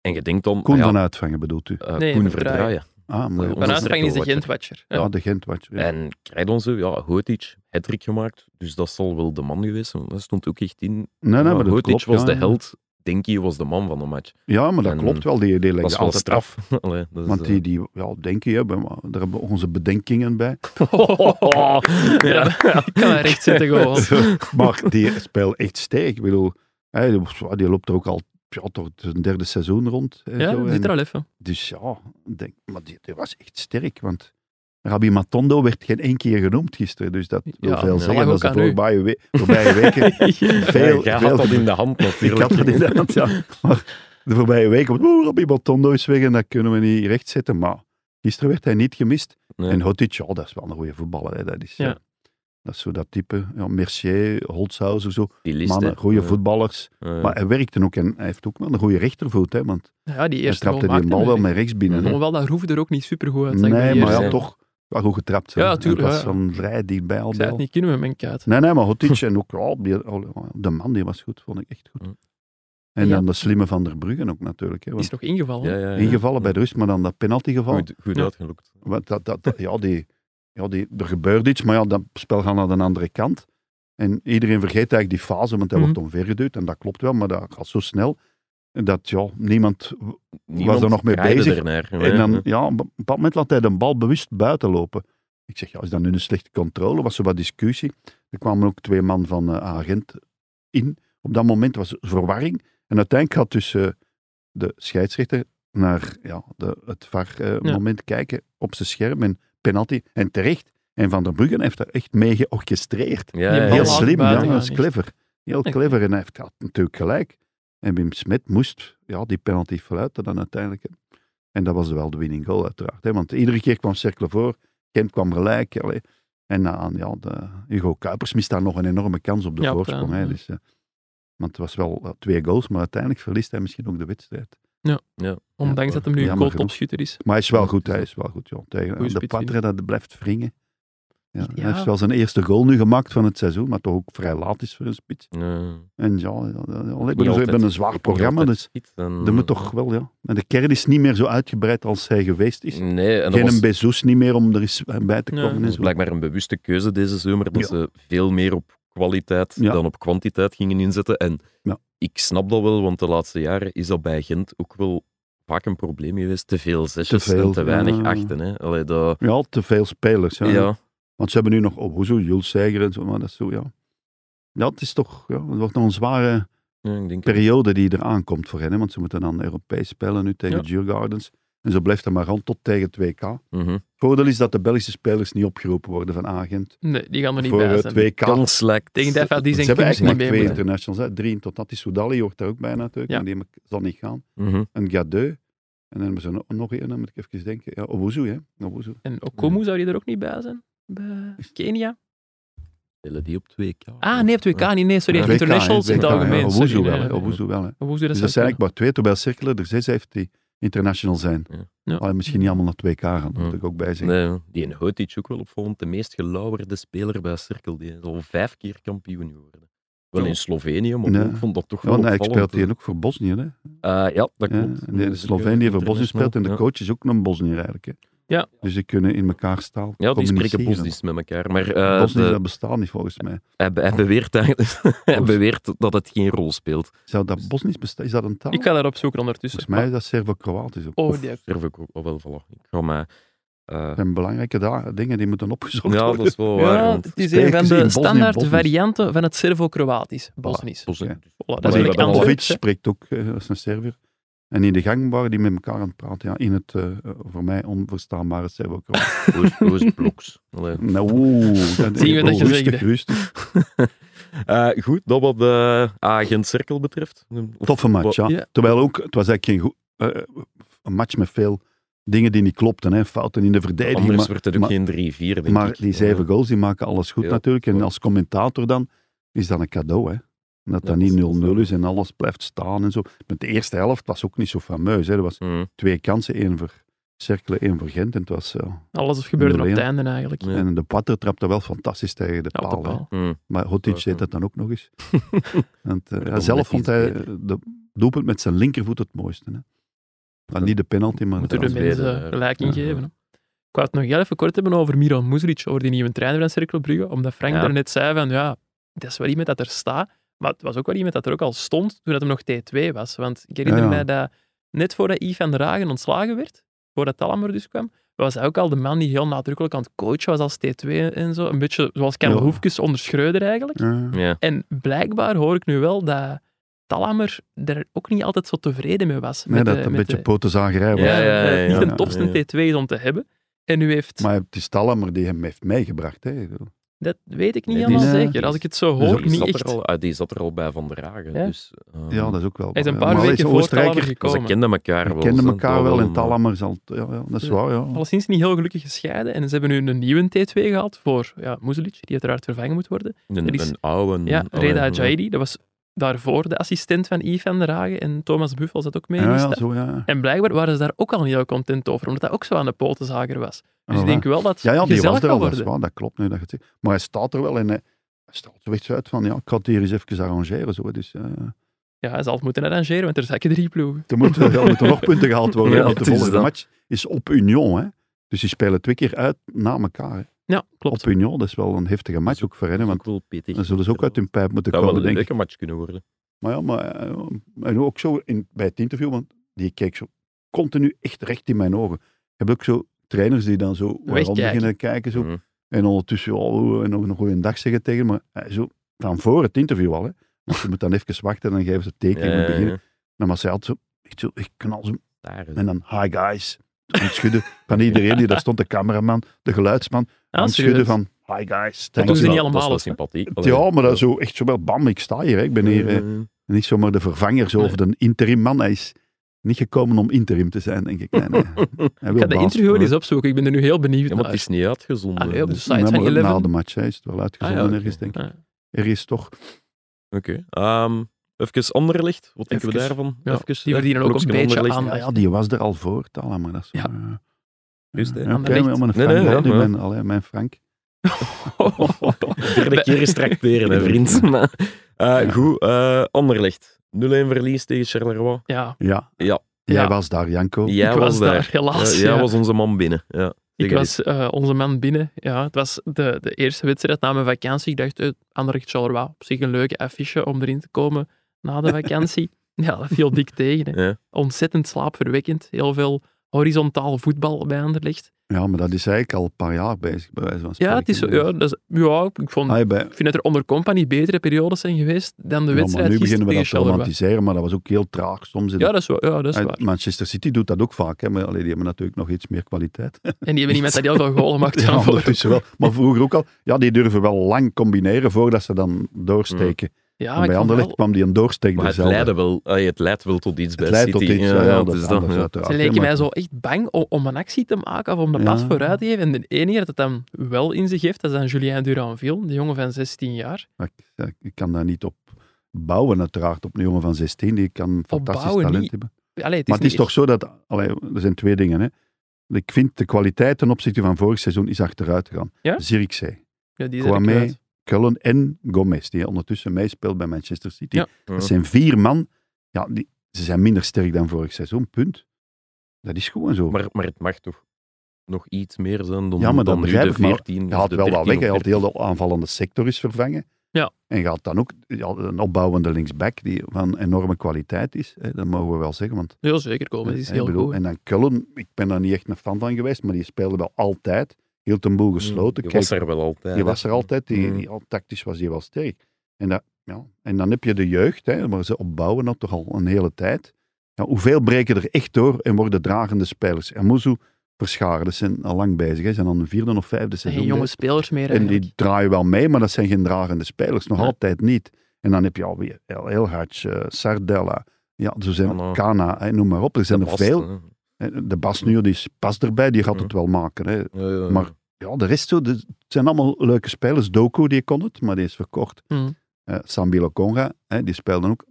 B: En je denkt dan,
D: Kon
B: ah ja,
D: van uitvangen, bedoelt u?
B: eh,
C: Nee,
B: Koen
C: Verdraaien.
B: Verdraaien.
D: Ah, mooi.
B: Ja,
C: Van
B: onze
C: Aanspraak is de
B: Cirkelwatcher.
C: Gent-watcher. Ja.
D: Ja, de gent watch. Ja.
B: En krijgt onze, ja, Hotic, hat gemaakt. Dus dat zal wel de man geweest zijn. want Dat stond ook echt in.
D: nee, nee,
B: Ja,
D: maar dat
B: Hotic
D: klopt,
B: was
D: ja,
B: de
D: ja.
B: held, Denkie was de man van de match.
D: Ja, maar dat
B: En
D: klopt wel. Die, die legde
B: Dat is wel
D: altijd af.
B: straf. Allee, dat is,
D: Want
B: eh,
D: die, die ja, denk je, hebben, maar daar hebben we onze bedenkingen bij.
C: Ja, Ik kan daar recht zitten gewoon.
D: maar die speelt echt sterk. Ik bedoel, hij, die loopt er ook al ja, tot zijn derde seizoen rond. hè,
C: Ja,
D: zo.
C: dat
D: En
C: zit er al even.
D: Dus ja, ik denk, maar die, die was echt sterk. Want Rabbi Matondo werd geen één keer genoemd gisteren. Dus dat wil
C: Ja,
D: veel
B: dat
D: zeggen.
C: lag
D: Dat ze
C: ook aan u.
D: voorbije, we- voorbije weken veel...
B: ja, jij
D: veel
B: had dat in de hand
D: ik
B: natuurlijk.
D: had dat inderdaad, ja. Maar de voorbije weken, oh, Rabbi Matondo is weg en dat kunnen we niet rechtzetten. Maar gisteren werd hij niet gemist.
B: Nee.
D: En Hotic, ja, dat is wel een goede voetballer. Hè. Dat, is,
C: Ja.
D: ja, dat is zo dat type. Ja, Mercier, Holzhauser, zo.
B: Stilist,
D: Mannen,
B: hè.
D: goede
B: Eh,
D: voetballers.
B: eh,
D: Maar hij werkte ook en hij heeft ook wel een goede rechtervoet. Hè, want
C: Ja, die
D: hij
C: eerste
D: trapte die bal wel met rechts binnen. hè.
C: Hoewel dat Roef er ook niet super goed uit.
D: Nee, maar
B: eerste.
D: ja, toch. wel goed getrapt. hè.
C: Ja,
D: Hij
C: tuurlijk,
D: was
C: ja.
D: van vrij dichtbij al
C: Ik zei
D: bij.
C: het niet kunnen met mijn kuit.
D: Nee, nee, maar Hotic en ook ja, die- de man die was goed, vond ik echt goed.
B: Hm.
D: En
C: Ja.
D: dan de slimme Van der Bruggen ook natuurlijk. Hè,
C: Die
D: want
C: is nog ingevallen.
B: Ja, ja, eh, ja.
D: ingevallen bij de rust, maar dan dat penaltygeval.
B: Goed, goed
C: Ja.
B: uitgelokt.
D: Want dat, dat, dat- ja, die, ja die, er gebeurt iets, maar ja, dat spel gaat naar de andere kant. En iedereen vergeet eigenlijk die fase, want hij
C: Mhm.
D: wordt omvergeduwd. En dat klopt wel, maar dat gaat zo snel. Dat ja, niemand...
B: Niemand
D: er nog mee
B: kraaide
D: bezig?
B: daarnaar, ja,
D: En dan,
B: ja.
D: ja, op een bepaald moment laat hij de bal bewust buiten lopen. Ik zeg, ja, is dat nu een slechte controle? Was er wat discussie? Er kwamen ook twee man van eh agent in. Op dat moment was er verwarring. En uiteindelijk gaat dus eh, de scheidsrechter naar ja, de, het
C: Ja.
D: VAR-moment kijken op zijn scherm. En penalty. En terecht. En Van der Bruggen heeft daar echt mee georchestreerd.
B: Ja, ja,
C: Die
D: Eh, Heel
C: bal
B: ja.
D: slim, ja,
C: buiten
D: dat is
C: gaan,
D: clever. Heel
C: Oké.
D: clever. En hij heeft had natuurlijk gelijk. En Wim Smet moest ja, die penalty fluiten dan uiteindelijk. hè. En dat was wel de winning goal uiteraard. Hè? Want iedere keer kwam Cercle voor, Kent kwam gelijk. allee. En na- aan, ja, de, Hugo Kuipers mist daar nog een enorme kans op de
C: Ja, op de-
D: voorsprong. Hè?
C: ja.
D: Dus, eh, want het was wel eh, twee goals, maar uiteindelijk verliest hij misschien ook de wedstrijd.
C: Ondanks dat hem nu een
D: Jammer
C: goaltopschutter is.
D: Maar hij is wel
B: Ja,
D: goed,
B: het is
D: hij is wel goed. Ja. Tegen,
C: Goeie
D: de
C: spits,
D: Patre, dat blijft wringen. Ja,
C: Ja.
D: Hij heeft wel zijn eerste goal nu gemaakt van het seizoen, maar toch ook vrij laat is voor een spits.
B: Ja.
D: En ja, ja, ja, ja,
B: niet
D: we
B: altijd.
D: hebben een zwaar programma,
B: Altijd Mm.
D: dus
B: schiet, dan-
D: dat moet toch wel, ja. En de kern is niet meer zo uitgebreid als hij geweest is.
B: Nee, Mm. en dat
D: Geen
B: was,
D: een Bezos niet meer om er eens bij te
C: Nee.
D: komen.
B: dat
D: en
B: was
D: zo.
B: blijkbaar een bewuste keuze deze zomer, dat
D: Ja.
B: ze veel meer op kwaliteit
D: Ja.
B: dan op kwantiteit gingen inzetten. En
D: Ja.
B: ik snap dat wel, want de laatste jaren is dat bij Gent ook wel vaak een probleem geweest. Te veel zesjes
D: Te veel,
B: en te weinig
D: ja.
B: achten. Hè. Allee, dat,
D: Ja, te veel spelers. Ja.
B: ja.
D: Want ze hebben nu nog, oh, hoezo, Jules Seiger en zo, maar dat is zo, ja. Ja, het is toch, ja, het wordt nog een zware
B: Ja, ik denk,
D: periode die eraan komt voor hen. hè, want ze moeten dan Europees spelen nu tegen
C: Ja.
D: Djurgardens. En zo blijft het maar aan tot tegen 2K. Het
B: Mhm.
D: voordeel is dat de Belgische spelers niet opgeroepen worden van agent
C: Nee, die gaan er niet
D: voor
C: bij
D: eh,
C: zijn.
D: 2K.
B: Kans lijkt...
C: Tegen Defa, die
D: Ze
C: zijn
D: hebben
C: Kims niet
D: eigenlijk
C: mee
D: maar twee
C: moeten.
D: internationals, hè. drie in totaal. Die Soudali hoort daar ook bij natuurlijk,
C: Ja.
D: maar die zal niet gaan.
B: Mhm.
D: En Gadeu. En dan hebben ze nog- nog één, dan moet ik even denken. Ja, Owozu, hè. Owozu.
C: En Okomu, zou die er ook niet bij zijn? Bij Kenia?
B: Spelen die op 2K.
C: Ah, nee, op 2K niet. Nee, sorry.
B: Ja,
D: 2K, hè,
C: internationals in het
D: 2K, hè.
C: algemeen.
D: Owozu
C: sorry,
D: wel,
C: nee,
D: hè.
C: nee.
D: Owozu wel, hè.
C: Owozu, dat
D: Dus
C: zou
D: dat zijn
C: kunnen.
D: eigenlijk maar twee, terwijl Cirkelen er zes heeft die international zijn.
B: Ja.
C: Ja.
D: Allee, misschien niet allemaal naar 2K gaan, dat moet
B: Ja.
D: ik ook bij zeggen.
B: Nee, ja. die in Hotic ook wel opvallend. De meest gelauwerde speler bij Cirkel. Die is al vijf keer kampioen geworden. Wel
C: Ja.
B: in Slovenië, maar
D: Nee.
B: ik vond dat toch
D: Ja,
B: wel
D: want hij
B: opvallend.
D: speelt hier ook voor Bosnië. Hè?
B: Eh, ja, dat
D: Ja,
B: klopt.
D: en de Slovenië voor Bosnië speelt en de
B: ja.
D: coach is ook een Bosnier eigenlijk. Hè?
C: Ja.
D: Dus die kunnen in elkaar taal
B: Ja, die spreken
D: communiceren.
B: Bosnisch met elkaar. Maar eh,
D: Bosnisch,
B: de-
D: dat bestaat niet volgens mij.
B: hij, be- hij beweert eigenlijk hij beweert dat het geen rol speelt.
D: Zou dat Bosnisch bestaan? Is dat een taal?
C: Ik ga daarop zoeken ondertussen.
D: Volgens mij is dat Servo-Kroatisch ook.
C: Oh,
D: Of-
C: die heb
B: Durf ik ook oh, wel, voilà. Ik ga mij... eh,
D: Dat zijn belangrijke da- dingen die moeten opgezocht
B: ja,
D: worden.
B: dat is wel waar.
C: Ja,
B: want-
C: het is
D: Spijkers
C: een van
D: in
C: de
D: Bosnië,
C: standaard
D: Bosnisch.
C: varianten van het Servo-Kroatisch. Bosnisch. Voilà,
B: Bosnië.
C: dat is
B: Maar
C: ook
B: die-
C: Antwerps,
D: Bovic
C: hè.
D: spreekt ook, eh, dat is een Servier. En in de gang waren die met elkaar aan het praten. Ja, in het eh, voor mij onverstaanbare Servo-Kroatisch.
B: Oost- Oostbloks. Allee.
D: nou, oeh, dat oh,
C: Zien we dat je
D: rustig,
C: zegt, hè.
D: rustig.
B: Eh, goed, dat wat de agent Cirkel betreft. Of-
D: Toffe match, ja.
C: Ja.
D: Terwijl ook, het was eigenlijk geen goed, eh, een match met veel dingen die niet klopten. Hè. Fouten in de verdediging.
B: Anders
D: Maar,
B: wordt het ook
D: maar-
B: geen 3-4, denk
D: maar
B: ik.
D: die zeven goals, die maken alles goed
B: Ja,
D: natuurlijk. En
B: klopt.
D: als commentator dan, is dat een cadeau, hè. Dat
B: Ja,
D: dat
B: dat is-
D: niet 0-0 is en alles blijft staan en zo. Met de eerste helft was ook niet zo fameus. Hè. Er was
B: Mm,
D: twee kansen, één voor Cerkelen, één voor Gent. En, het was, eh,
C: Alles gebeurde op het
D: Nul-een.
C: einde eigenlijk.
B: Ja.
D: en de Patter trapte wel fantastisch tegen de
C: Ja, op
D: paal.
C: de
D: hè.
C: paal.
B: mm.
D: Maar
B: Ja,
D: Hotic
B: ja.
D: deed dat dan ook nog eens. Want, eh,
B: Maar
D: ja,
B: dan
D: zelf
B: net
D: vond
B: iets
D: hij
B: beter.
D: eh, de doelpunt met zijn linkervoet het mooiste. Hè. Maar niet de penalty, maar
C: Moeten
D: het
C: de
B: dat is
C: mensen
B: weer, eh,
C: gelijk in
B: ja.
C: geven. hè. Ik wou het nog heel even kort hebben over Miran Muzric, over die nieuwe trainer van Cercle Brugge, omdat Frank
B: Ja.
C: daarnet zei van, ja, dat is wel iemand dat er staat, maar het was ook wel iemand dat er ook al stond toen dat hem nog T2 was. Want ik herinner
D: Ja.
C: mij dat net voordat Yves van der Hagen ontslagen werd, voordat Talamer dus kwam, was hij ook al de man die heel nadrukkelijk aan het coachen was als T2 en zo. Een beetje zoals Karel
D: Ja.
C: Hoefkes onder Schreuder eigenlijk.
D: Ja.
B: Ja.
C: En blijkbaar hoor ik nu wel dat Talamer er ook niet altijd zo tevreden mee was.
D: Nee,
C: met
D: dat
C: de-
D: een
C: met
D: beetje
C: de-
D: potenzagerij was.
B: Ja,
C: ja,
B: ja, ja,
C: niet
D: ja.
C: de topste
B: Ja,
C: T2 is om te hebben. En nu heeft,
D: Maar het is Tallamer die hem heeft meegebracht. Hè.
C: dat weet ik niet
B: Nee, die
C: helemaal
D: is-
C: zeker. Als ik het zo
D: die is
C: hoor,
D: ook
B: Die
C: niet
B: zat, er
C: echt.
B: al, ah, die zat er al bij Van der Hagen.
C: Ja.
B: Dus, eh,
D: Ja, dat is ook wel...
C: Hij is een
D: ja,
C: paar
D: maar
C: weken
D: is
C: voor Talamer
D: Oostenrijker.
B: ze
C: gekomen.
B: kenden elkaar
D: Ze
B: wel.
D: kenden
B: ze
D: elkaar
B: hadden
D: wel en
B: een-
D: Tallamer zal... Ja, ja, dat is
C: Ja.
D: waar, ja.
C: Alleszins niet heel gelukkig gescheiden. En ze hebben nu een nieuwe T2
D: Mm,
C: gehad voor ja, Muzelic, die uiteraard vervangen moet worden.
B: Een,
C: Er is-
B: een oude...
C: Ja,
B: allee,
C: Reda Jaidi, dat was daarvoor de assistent van Yves van der Hagen en Thomas Buffel zat ook mee in
D: ja,
C: die
D: ja,
C: stad.
D: zo, ja.
C: En blijkbaar waren ze daar ook al niet heel content over, omdat hij ook zo aan de potenzager was. Dus ik
D: Voilà.
C: denk wel dat het
D: Oh, Ja, ja, die was
C: gezellig
D: er
C: kan
D: al, dat, is
C: worden.
D: waar, dat klopt nu dat je het zegt. Maar hij staat er wel en hij hij staat er echt zo uit van, ja, ik ga het hier eens even arrangeren. Zo, dus, eh
C: Ja, hij zal het moeten arrangeren, want er zakken drie ploegen.
D: er, moeten, er moeten nog punten gehaald worden.
B: Ja,
D: want
B: het
D: de
B: is
D: volgende
B: dat.
D: match is op Union. Hè. Dus die spelen twee keer uit na elkaar. hè.
C: Ja, klopt.
D: Op Union, dat is wel een heftige match ook voor hen. Want
B: ook wel pittig.
D: dan zullen ze ook uit hun pijp moeten
B: Dat zou
D: komen,
B: wel een
D: denk ik.
B: leuke match kunnen worden.
D: Maar ja, maar, eh, ja, en ook zo in, bij het interview, want die keek zo continu echt recht in mijn ogen. Ik heb ook zo trainers die dan zo waarom
C: Wegkijken.
D: beginnen kijken. Zo.
B: Mm.
D: En ondertussen oh, en nog een goede dag zeggen tegen me. Eh, Zo, van voor het interview al. Hè. Want je moet dan even wachten en dan geven ze het teken. en we
B: Ja, ja,
D: beginnen.
B: ja.
D: Nou, maar zij had zo, echt zo, ik knal zo.
B: Daar is
D: En dan, hi guys. Aan het schudden van iedereen. Die, daar stond de cameraman, de geluidsman. Aan
C: Ah,
D: het
C: serieus.
D: schudden van, hi guys.
C: doen
B: Dat
C: ze
B: is
C: niet
B: wel-
C: allemaal,
B: Dat
C: hè?
B: is wel sympathiek.
D: Ja, maar dat is zo, echt zo wel, bam, ik sta hier. Hè. Ik ben hier... eh,
B: Eh,
D: niet zomaar de vervanger zo, of de interim man. Hij is niet gekomen om interim te zijn, denk ik. Nee, nee. Hij
C: Ik
D: wil
C: ga de
D: baas
C: interview wel
D: worden.
C: eens opzoeken, ik ben er nu heel benieuwd
B: Ja,
C: naar.
B: maar het is niet uitgezonden.
C: Ah, nee, op de
B: Dus-
C: site
D: Nee,
C: van
D: maar na
C: 11.
D: de match hè, is het wel uitgezonden
C: Ah, ja,
D: ergens, denk ik.
C: Ja.
D: Er is toch...
B: Oké. Ehm even Anderlicht, wat denken we
C: Even.
B: daarvan?
C: Ja,
B: Even,
C: die
B: hè,
C: verdienen ook een
B: blokje
C: beetje Ah,
B: Anderlecht.
C: aandacht.
D: Ja, ja, die was er al voor, het allemaal. maar dat is...
C: Ja.
D: eh,
B: Juist, hè.
D: ja,
C: Aan
D: oké,
C: de licht.
D: maar mijn
B: Nee,
D: Frank,
B: nee,
D: Bal,
B: ja,
D: die
B: maar-
D: mijn, allee, mijn Frank.
B: Derde keer is tracteren, hè, vriend. Maar, eh, Goed, eh Anderlicht. 0-1 verlies tegen Charleroi.
C: Ja,
D: Ja.
B: Ja.
D: Jij
C: Ja.
D: was daar, Janko.
B: Jij
C: ik was, daar, helaas.
B: Eh, Ja, jij
C: ja.
B: was onze man binnen. Ja.
C: Ik
B: Zeg
C: was eh, onze man binnen. Ja, het was de, de eerste wedstrijd na mijn vakantie. Ik dacht, eh, Anderlecht Charleroi, op zich een leuke affiche om erin te komen na de vakantie. ja, dat viel dik tegen. Hè.
B: Ja.
C: Ontzettend slaapverwekkend. Heel veel horizontaal voetbal bij Anderlecht.
D: Ja, maar dat is eigenlijk al een paar jaar bezig, bij wijze van
C: Ja, het is, zo-
D: spreken.
C: ja, dat is- ja ik, vond,
D: Ah, ja, bij-
C: ik vind dat er onder Company betere periodes zijn geweest dan de
D: ja, maar
C: wedstrijd
D: nu
C: gisteren
D: beginnen we dat
C: tegen
D: te
C: Charleroi.
D: romantiseren, maar dat was ook heel traag soms. in
C: Ja, dat is, wa- ja, dat is
D: Uit-
C: waar.
D: Manchester City doet dat ook vaak, hè, maar allee, die hebben natuurlijk nog iets meer kwaliteit.
C: En die hebben iemand dat heel veel goal gemaakt.
D: Ja,
C: van voor-
D: ondertussen wel. Maar vroeger ook al. Ja, die durven wel lang combineren voordat ze dan doorsteken.
C: Ja,
D: En
C: maar ik
D: bij
C: vond
D: Anderlecht
C: wel-
D: kwam die een doorsteek
B: Maar het,
D: dezelfde.
B: leidde wel, eh, het leidt wel tot iets
D: Het
B: bij
D: leidt
B: City.
D: tot iets. Ja, ja, dat is
B: dan,
D: anders
B: ja.
D: uiteraard.
C: Ze
D: hè,
C: leken
D: maar-
C: mij zo echt bang om, om een actie te maken of om de
D: Ja.
C: pas vooruit te geven. En de enige dat het dan wel in zich heeft, dat is dan Julien Duranville, de jongen van 16 jaar.
D: maar ik- ja, Ik kan daar niet op bouwen, uiteraard. Op een jongen van 16, die kan fantastisch
C: bouwen
D: talent
C: niet.
D: hebben.
C: Allee, het is
D: maar het is
C: niet
D: toch zo dat... allee, er zijn twee dingen, hè. Ik vind de kwaliteit ten opzichte van vorig seizoen is achteruit gegaan.
C: Ja?
D: Zirkzee,
C: echt- Ja, die zijn er
D: Kwame,
C: kwijt.
D: Cullen en Gomez, die ondertussen meespeelt bij Manchester City.
C: Ja.
B: Ja.
D: Dat zijn vier man. Ja, die, ze zijn minder sterk dan vorig seizoen, punt. Dat is gewoon zo.
B: Maar, maar het mag toch nog iets meer zijn dan,
D: Ja, maar dat
B: dan nu
D: begrijp
B: de
D: ik, maar
B: 14
D: je
B: of
D: haalt
B: de
D: wel wat
B: 13
D: weg. Hij
B: of
D: had heel de aanvallende sector is vervangen.
C: Ja.
D: En gaat dan ook ja, een opbouwende linksback die van enorme kwaliteit is. Hè, dat mogen we wel zeggen. Want,
C: Heel zeker,
B: Oh,
C: Kwame die is
D: hè,
C: heel
D: ik bedoel,
C: goed.
D: En dan Cullen, ik ben daar niet echt een fan van geweest, maar die speelde wel altijd. Hield een boel gesloten.
B: Hmm, Die
D: Kijk,
B: was er wel altijd.
D: die
B: hè.
D: was er altijd. Die,
B: Eh, Mm.
D: die- al tactisch was die wel sterk. En, dat, ja. en dan heb je de jeugd, hè, maar ze opbouwen dat toch al een hele tijd. Ja, hoeveel breken er echt door en worden dragende spelers? En Moezu verscharen, dat zijn al lang bezig. Hè. Zijn dan een vierde of vijfde
C: En
D: seizoen.
C: geen jonge
D: bezig.
C: spelers meer.
D: En
C: eigenlijk.
D: die draaien wel mee, maar dat zijn geen dragende spelers. Nog
C: Nee.
D: altijd niet. En dan heb je alweer El Elhaj, eh, Sardella. Ja, zo zijn
B: Kana.
D: Kana, hè, noem maar op. Er zijn
B: Dat
D: er
B: past,
D: veel.
B: eh, hè. Mm.
D: En De Bas nu, die is- past erbij, die gaat het wel maken. Hè.
B: Ja, ja, ja.
D: Maar Ja, de rest, zo, de- het zijn allemaal leuke spelers. Doku, die kon het, maar die is verkocht.
C: Mhm.
D: Eh, Sambilo Conga, hè, die speelde ook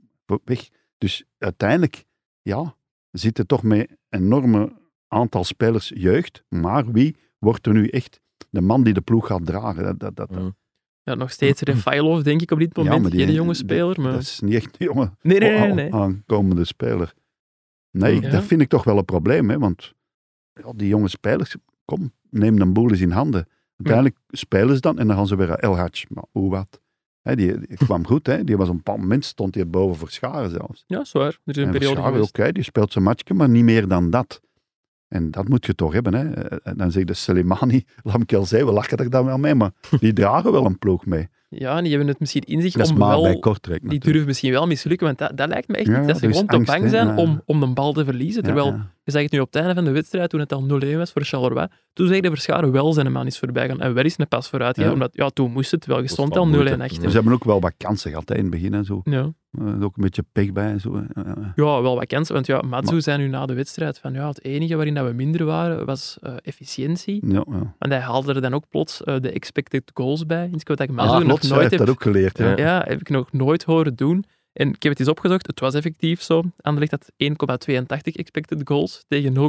D: weg. Dus uiteindelijk, ja, zitten toch met een enorme aantal spelers jeugd. Maar wie wordt er nu echt de man die de ploeg gaat dragen? Dat, dat, dat,
B: Mhm.
C: Ja, nog steeds Refailov, denk ik, op dit
D: Ja,
C: moment.
D: maar die-
C: Geen jonge
D: die-
C: speler. Maar...
D: dat is Oh, niet echt een jonge
C: Nee, nee, nee. nee.
D: aan- aankomende speler. Nee,
C: Ja.
D: dat vind ik toch wel een probleem, hè, want ja, die jonge spelers, kom, neem een boel eens in handen. Uiteindelijk spelen ze dan en dan gaan ze weer El Hatch, maar hoe wat. Hè, die, die kwam goed, hè. die was op een bepaald moment, stond hij boven Verscharen zelfs.
C: Ja, zwaar. Er is een
D: en
C: periode
D: Verscharen,
C: geweest.
D: oké, die speelt zijn matchje, maar niet meer dan dat. En dat moet je toch hebben. Hè. En dan zegt de Soleimani, Lamkel zei, we lachen er dan wel mee, maar die dragen wel een ploeg mee.
C: Ja, en die hebben het misschien in zich
D: Dat is
C: om
D: maar bij
C: wel...
D: Kortrijk
C: Die
D: natuurlijk.
C: durven misschien wel mislukken, want dat, dat lijkt me echt
D: Ja,
C: niet. Dat ze
D: er is
C: gewoon te
D: angst,
C: bang
D: hè.
C: zijn
D: Ja.
C: om, om de bal te verliezen.
D: Ja,
C: Terwijl
D: ja.
C: Je zag het nu op het einde van de wedstrijd, toen het al 0-1 was voor Charleroi. Toen zag je de Verscharen wel zijn man is voorbij gaan. En weer is een pas vooruit. Ja.
D: Ja.
C: Omdat, ja, toen moest het wel. Je
B: Was
C: stond
B: wel
C: al 0-1
B: moeite.
D: Maar
C: achter.
D: Ze hebben ook wel wat kansen gehad hè, in het begin en zo.
C: Ja.
D: Eh, ook een beetje pech bij en zo. hè. Ja, ja, ja.
C: ja, wel wat kansen. Want ja, Matsu
D: Maar-
C: zei nu na de wedstrijd van ja, het enige waarin dat we minder waren, was eh, efficiëntie.
D: Ja, ja.
C: En hij haalde er dan ook plots eh, de expected goals bij. Iets wat ik Matsu
D: Ah,
C: nog
D: Lotz
C: nooit
D: heeft
C: heb...
D: dat ook geleerd. hè.
B: Ja.
C: Ja, heb ik nog nooit horen doen. En ik heb het eens opgezocht, het was effectief zo. Anderlecht had 1,82 expected goals tegen 0,95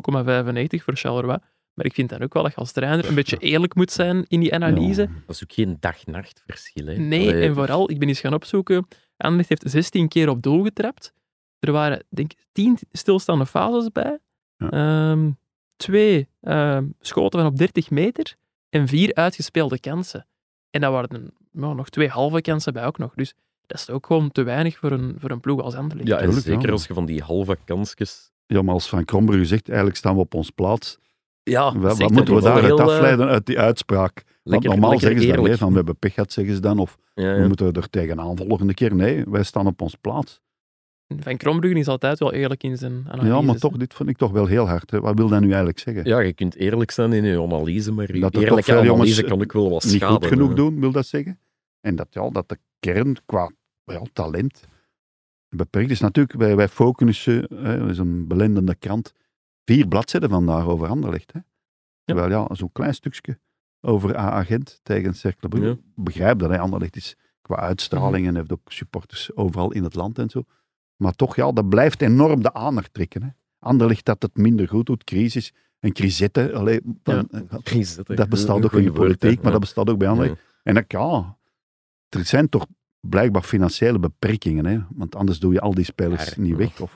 C: voor Charleroi. Maar ik vind dan ook wel dat je als trainer een beetje eerlijk moet zijn in die analyse.
B: Dat is ook geen dag-nacht verschil. Hè?
C: Nee,
B: Allee,
D: dus-
C: en vooral, ik ben eens gaan opzoeken. Anderlecht heeft 16 keer op doel getrapt. Er waren, denk ik, 10 stilstaande fases bij.
D: Ja.
C: Ehm, twee ehm, schoten van op 30 meter. En vier uitgespeelde kansen. En dat waren nou, nog twee halve kansen bij ook nog. Dus dat is ook gewoon te weinig voor een, voor een ploeg als Anderlecht.
B: Ja, en
D: Tuurlijk,
B: zeker
D: ja.
B: als je van die halve kansjes...
D: Ja, maar als Van Krombrugge zegt, eigenlijk staan we op ons plaats.
B: Ja,
D: Wa- wat moeten we daaruit afleiden uit die uitspraak? Want normaal zeggen ze dan, hè, van we hebben pech gehad, zeggen ze dan, of
B: Ja,
D: we
B: ja.
D: moeten er tegenaan volgende keer. Nee, wij staan op ons plaats.
C: Van Krombruggen is altijd wel eerlijk in zijn analyse.
D: Ja, maar toch, dit vond ik toch wel heel hard. Hè. Wat wil dat nu eigenlijk zeggen?
B: Ja, je kunt eerlijk zijn in je analyse, maar je
D: Dat er toch
B: eerlijke
D: veel jongens
B: analyse kan ook wel wat
D: Niet
B: schaden.
D: goed genoeg
B: hè.
D: doen, wil dat zeggen? En dat, ja, dat de kern qua ja, talent beperkt is. Natuurlijk, wij, wij focussen, hè, dat is een belendende krant, vier bladzijden vandaag over Anderlecht. Hè. Terwijl ja, zo'n klein stukje over A-agent tegen Cercle Brugge. Begrijp dat, hè, Anderlecht is qua uitstraling en heeft ook supporters overal in het land en zo. Maar toch, ja, dat blijft enorm de aandacht trekken. Hè. Anderlecht dat het minder goed doet, crisis en crisette. Allee, van-
B: Jezus, dat-
D: eh, dat
B: een
D: bestaat ook in
B: goeie
D: de
B: woord, hè.
D: politiek, maar
B: Ja.
D: dat bestaat ook bij anderen.
B: Ja.
D: En dat, ja, er zijn toch blijkbaar financiële beperkingen, hè? want anders doe je al die spelers
B: Ja,
D: niet weg. Of,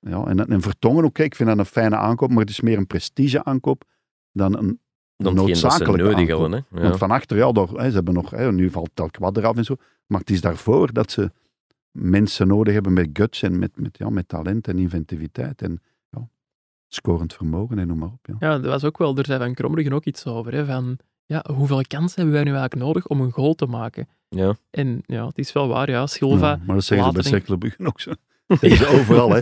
D: ja, en, en Vertongen ook, hè, ik vind dat een fijne aankoop, maar het is meer een prestige-aankoop dan een...
B: Dan hetgeen dat ze
D: Noodzakelijk
B: nodig
D: aankoop.
B: hadden. Hè. Ja.
D: Want van achter, ja, daar, hè, ze hebben nog, hè, nu valt Telkwad eraf en zo, maar het is daarvoor dat ze mensen nodig hebben met guts en met, met, ja, met talent en inventiviteit en ja, scorend vermogen en noem maar op. Ja.
C: Ja, dat was ook wel, er zei Van Krombruggen ook iets over. Hè, van, ja, hoeveel kansen hebben wij nu eigenlijk nodig om een goal te maken?
B: Ja.
C: En ja, het is wel waar, ja. Silva,
D: Ja, maar dat zeggen ze bij
C: Watering.
D: Cercle Brugge ook zo. Dat zeggen ze overal, hè.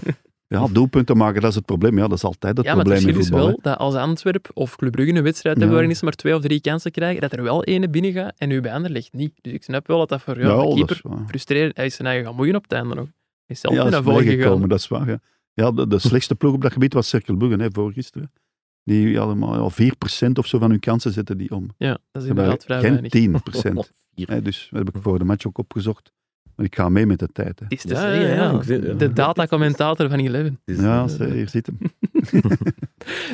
D: Ja, doelpunten maken, dat is het probleem. Ja, dat is altijd het
C: ja, maar het
D: probleem
C: verschil
D: in
C: is
D: voetbal.
C: wel dat als Antwerp of Club Brugge een wedstrijd hebben
D: Ja.
C: waarin ze maar twee of drie kansen krijgen, dat er wel ene binnen gaat en nu bij Anderlecht niet. Dus ik snap wel dat dat voor
D: hè.
C: ja, de
D: dat
C: keeper
D: is waar.
C: frustrerend Hij is zijn eigen gaan moeien op het einde nog. Hij is zelf
D: Ja,
C: mee
D: dat
C: naar
D: is
C: voren gegaan.
D: meegekomen, dat is waar. Ja, ja de, de slechtste ploeg op dat gebied was Cercle Brugge, hè, voorgisteren. Die hadden maar ja, 4% of zo van hun kansen zetten die om.
C: Ja, dat is
D: Ze hebben
C: inderdaad vrij
D: geen
C: weinig.
D: 10%.
B: Hier.
D: hè, dus dat heb ik voor de match ook opgezocht. Maar ik ga mee met de tijd. Hè.
C: Het is te
B: Ja, ja,
C: zeggen,
B: ja,
C: ja.
B: ik zie- ja.
C: De datacommentator van Eleven.
B: Het is,
D: Ja,
B: eh,
D: ze- hier zit hem.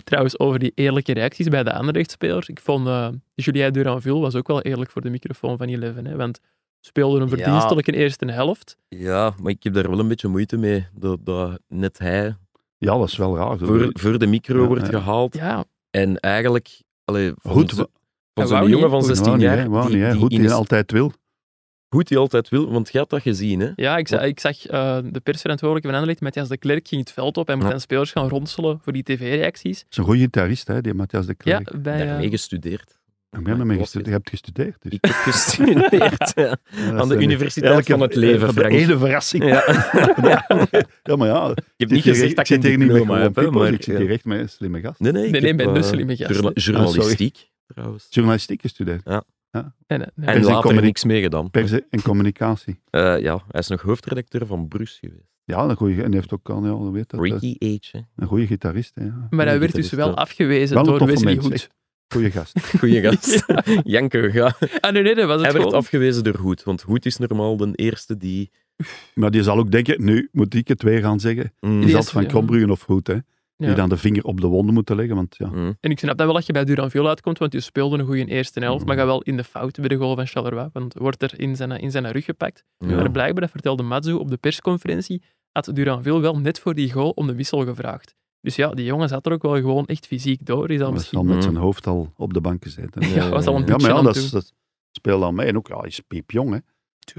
C: Trouwens, over die eerlijke reacties bij de Anderlecht-spelers. Ik vond eh Julien Duranville was ook wel eerlijk voor de microfoon van Eleven. Hè, want speelde een
B: Ja.
C: verdienstelijke eerste helft.
B: Ja, maar ik heb daar wel een beetje moeite mee. Dat, dat net hij
D: Ja, dat is wel raar. zo.
B: voor, voor de micro
D: Ja,
B: wordt
D: ja.
B: gehaald.
C: Ja,
B: En eigenlijk... Allee, van
D: Goed,
B: zo-
D: wa-
B: van
C: wou
B: zo'n
C: niet,
B: jongen
C: hè?
B: van 16
D: Wou niet, hè,
B: jaar...
D: wou niet, hè.
B: die
D: Goed, die
B: in-
D: altijd wil.
B: goed die altijd wil, want je had dat gezien, hè?
C: ja ik, zag, ik zag eh, de persverantwoordelijke van Anderlecht, Matthias de Klerk, ging het veld op. Hij moet
B: Ja.
C: aan spelers gaan ronselen voor die tv-reacties.
D: Dat is een goede gitarist, hè, die Matthias de
C: Ja,
D: Klerk.
C: bij... eh,
B: Daarmee gestudeerd.
D: Ik ben ermee gestudeerd. Je hebt gestudeerd, dus.
B: Ik heb gestudeerd ja.
D: Ja,
B: aan de
D: sorry.
B: Universiteit van het Leven,
D: De
B: Frank.
D: ene verrassing.
B: Ja.
D: Ja, maar ja.
B: Ik heb niet gezegd dat ik
D: zit
B: een
D: hier niet met
B: diploma
D: gewoon
B: heb, hè,
D: people,
B: maar... eh,
D: ik zit hier echt met een slimme gast.
B: Nee, nee, ik
C: Nee, dus nee,
B: heb,
C: bij
B: eh,
C: Nusselium, ja.
B: journa-
D: Ah,
B: Journalistiek, trouwens.
D: Journalistiek gestudeerd.
C: nee, nee, Dus nee.
B: En
D: is een
B: later
D: communi-
B: niks meer gedaan.
D: Persen en communicatie.
B: Eh, ja, hij is nog hoofdredacteur van Bruce geweest.
D: Ja, een goede. En die heeft ook al, ja, hoe heet dat, eh,
B: Ricky H. hè.
D: een goede gitarist. hè,
B: Mm,
D: Ja.
C: Maar hij werd dus
B: gitarist,
C: wel
B: ja.
C: afgewezen
D: Wel een
C: door
D: toffe
C: Wesley
D: mens,
C: Hoed.
D: echt. Goede gast.
B: Goeie gast. Janko, ja.
C: Ah, nee, nee, dat was het
B: Hij werd
C: gewoon.
B: afgewezen door Hoed, want Hoed is normaal de eerste die...
D: Maar die zal ook denken, nu moet ik het weer gaan zeggen.
B: Mm,
D: Die
C: Die
D: zal
C: is-
D: het van
C: ja.
D: Krombruggen of Hoed, hè. Die
C: Ja.
D: dan de vinger op de wonden moeten leggen, want ja.
B: mm.
C: En ik snap dat wel dat je bij Duranville uitkomt, want je speelde een goede eerste helft, maar gaat wel in de fout bij de goal van Charleroi, want wordt er in zijn, in zijn rug gepakt.
B: Ja.
C: Maar blijkbaar, dat vertelde Matsu op de persconferentie, had Duranville wel net voor die goal om de wissel gevraagd. Dus ja, die jongen zat er ook wel gewoon echt fysiek door. Die zal
D: Dat is
C: misschien...
D: al met
B: Mm.
D: zijn hoofd al op de bank gezeten.
B: Ja,
C: Ja, was al een
D: Eh, Ja,
C: beetje
D: maar ja,
C: aan
D: dat,
C: toe.
D: is- dat speelt al mee. En ook, ja, hij is piepjong, hè.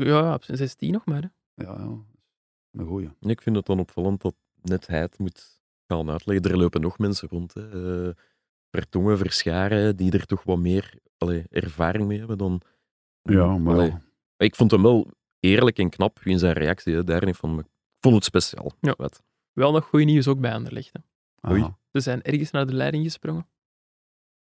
C: Ja, op zijn 16 nog maar. Hè.
D: Ja, ja. Een goeie.
B: Ik vind het dan opvallend dat net hij het moet gaan uitleggen. Er lopen nog mensen rond. Hè. Eh, Vertongen, Verscharen, die er toch wat meer allee, ervaring mee hebben dan...
D: Ja, maar
B: Allee, Ik vond hem wel eerlijk en knap in zijn reactie. Hè. Daar niet van. maar Ik vond het speciaal.
C: Ja.
B: Wat.
C: Wel nog goed nieuws ook bij Anderlecht. Hè.
D: Aha.
B: Oei.
C: Ze zijn ergens naar de leiding gesprongen.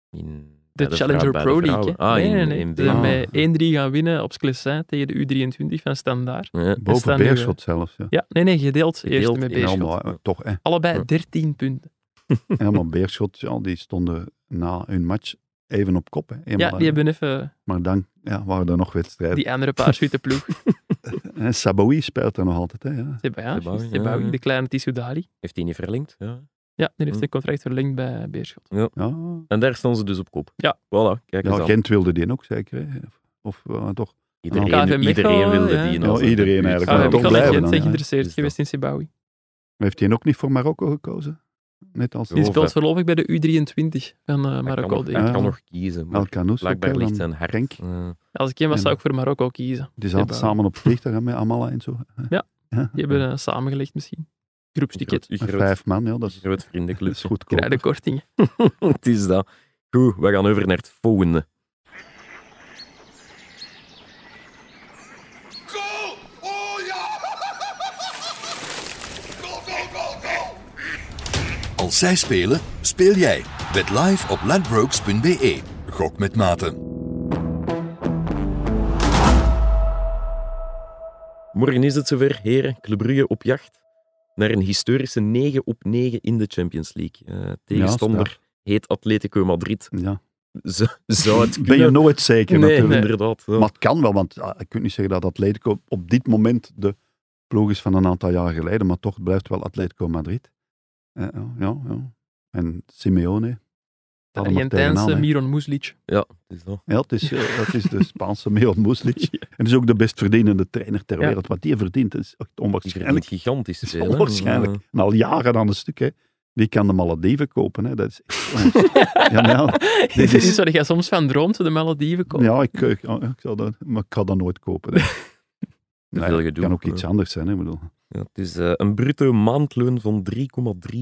B: In-
C: De
B: bij
C: Challenger
B: vrou- bij
C: Pro
B: de
C: League.
B: vrouwen.
C: hè.
B: Ah,
C: nee,
B: in,
C: nee, nee.
B: in
C: Ze
B: de-
C: zijn
D: Ah.
C: bij 1-3 gaan winnen op Sclessin tegen de U23 van Standaard.
B: Ja.
C: Is dat
D: Boven
C: nu,
D: Beerschot zelfs, ja.
C: Ja, nee, nee, gedeeld,
B: Gedeeld,
C: eerst met
B: ja,
D: Ja,
C: Beerschot.
D: maar, eh, toch, hè.
C: Allebei
B: Ja.
C: 13 punten.
D: Ja, maar Beerschot, ja, die stonden na hun match even op kop. Hè.
C: Ja,
D: Eenmaal, eh,
C: die hebben even
D: Maar dan ja, waren er nog wedstrijden.
C: die andere parachutenploeg.
D: En Saboui speelt daar nog altijd. Hè, ja.
C: Zebaoui,
B: Zebaoui,
C: juist,
B: ja,
C: Zebaoui,
B: ja.
C: de kleine Tissou Dali.
B: Heeft hij niet verlengd? Ja.
C: Ja, die heeft
B: Hm.
C: zijn contract verlengd bij Beerschot.
D: Ja.
B: En daar staan ze dus op kop.
C: Ja.
B: Voilà, kijk eens
D: ja,
B: aan.
D: Gent wilde die ook zeker. Hè. Of, of eh, toch?
B: Iedereen,
C: KV Mechelen,
B: iedereen wilde
C: ja.
B: die. in
D: Ja,
B: onze
D: iedereen
B: buurt.
D: eigenlijk.
C: Ah,
D: kan
C: ja,
D: wel.
C: ik
D: toch
C: kan
D: blijven
C: legend
D: dan,
C: zijn
D: ja.
C: geïnteresseerd
B: Is
C: geweest in Zebaoui.
D: Heeft hij ook niet voor Marokko gekozen? Net als
C: Die
B: Zo
C: speelt
B: vet.
C: voorlopig bij de U23 van eh,
B: Hij kan
C: Marokko.
B: nog-
C: denk ik.
B: Hij
D: Ja.
B: kan nog kiezen, maar
D: Alcanus.
B: blijkbaar ligt zijn hart.
D: Genk.
B: eh,
C: Als ik hem was,
D: En-
C: zou ik voor Marokko kiezen.
D: Die zaten
C: Zebaoui.
D: samen op het vliegtuig hè, met Amala en zo. hè.
C: Ja.
D: ja.
C: Die hebben eh, samengelegd misschien. Groepsticket.
B: Een
D: Met
B: groot,
D: vijf man, ja, dat
B: een
D: is,
B: groot
D: dat
B: vriendenclub.
D: is goed.
C: Krijg de kortingen.
B: het is dat. Goed, we gaan over naar het volgende.
A: Goal! Oh ja! Goal, goal, goal, goal!
E: Als zij spelen, speel jij. Bet live op ladbrokes.be. E. Gok met maten.
B: Morgen is het zover, heren. Club Brugge op jacht naar een historische 9 op 9 in de Champions League. Eh, tegenstander heet Atletico Madrid.
D: Ja.
B: Z- zou het
D: Ben je
B: kunnen?
D: nooit zeker
B: nee,
D: natuurlijk.
B: inderdaad. ja.
D: Maar het kan wel, want ah, je kunt niet zeggen dat Atletico op dit moment de ploeg is van een aantal jaar geleden, maar toch blijft wel Atletico Madrid. Eh, ja, ja, ja. En Simeone.
C: De
D: Had hem er
C: Argentijnse
D: tegenaan, hè.
C: Miron Muslic.
B: Ja, het is dat.
D: Ja, het is, eh, dat is de Spaanse Milan Muslic. En dat is ook de best verdienende trainer ter
C: Ja.
D: wereld. Wat die verdient, is echt
B: Die
D: onwaarschijnlijk.
B: verdient gigantisch
D: is
B: veel. hè.
D: onwaarschijnlijk.
B: Eh,
D: En al jaren aan een stuk, hè. Die kan de Malediven kopen, hè. Dat is echt- ja, nou. maar ja,
C: Dit
D: Dit
C: is
D: is-
C: waar jij soms van droomt, toen de Malediven komen.
D: ja ik, ik, ik zal dat, maar ik ga dat nooit kopen. hè.
B: veel
D: Nee, het
B: gedoe,
D: kan ook
B: ja.
D: iets anders zijn, hè. Ik bedoel,
B: ja, het is eh, een bruto maandloon van 3,3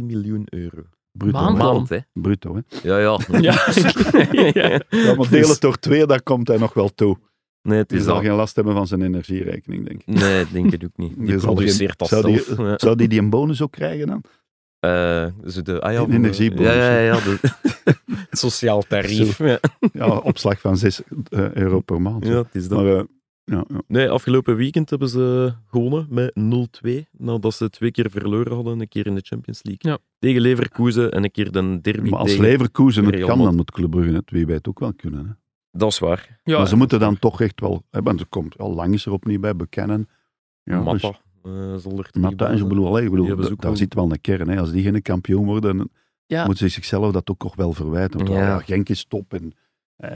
B: miljoen euro.
D: bruto,
C: Maand-
D: hè.
B: Maand, hè?
D: Bruto, hè.
B: Ja, ja.
C: Ja. Ja.
D: Ja, maar deel het door twee, daar komt hij nog wel toe.
B: Nee, het
D: Die
B: is
D: zal
B: dat.
D: geen last hebben van zijn energierekening, denk ik.
B: Nee, ik denk het ook niet. Die
D: Dus al die-
B: produceert dat
D: zou die-
B: zelf. Ja.
D: Zou die die een bonus ook krijgen dan?
B: Eh, zo de, ah ja,
D: Een
B: van-
D: energiebonus.
B: Ja, ja, ja. de- het sociaal tarief. Ja.
D: Ja, opslag van 6 euro per maand.
B: ja, het is dat.
D: Maar, eh, ja, ja.
B: Nee, afgelopen weekend hebben ze gewonnen met 0-2. Nadat ze twee keer verloren hadden. Een keer in de Champions League.
C: Ja.
B: Tegen Leverkusen en een keer de derby
D: maar als
B: tegen...
D: Leverkusen het
B: Real
D: kan,
B: Madrid.
D: dan moet Club Brugge het wie weet ook wel kunnen. Hè.
B: Dat is waar.
C: Ja,
D: maar ze moeten dan toch echt wel... Hè, want er komt al lang is er opnieuw bij, bekennen. Ja, dus-
B: Matta. eh, zal er twee
D: Matta, en
B: worden.
D: ik bedoel, allee, ik bedoel
B: Die hebben ze
D: da-
B: ook
D: daar
B: wel-
D: zit wel een kern. Hè. Als die geen kampioen worden, dan
C: Ja.
D: moeten ze zichzelf dat ook toch wel verwijten. Want
B: Ja.
D: ja, Genk is top en eh,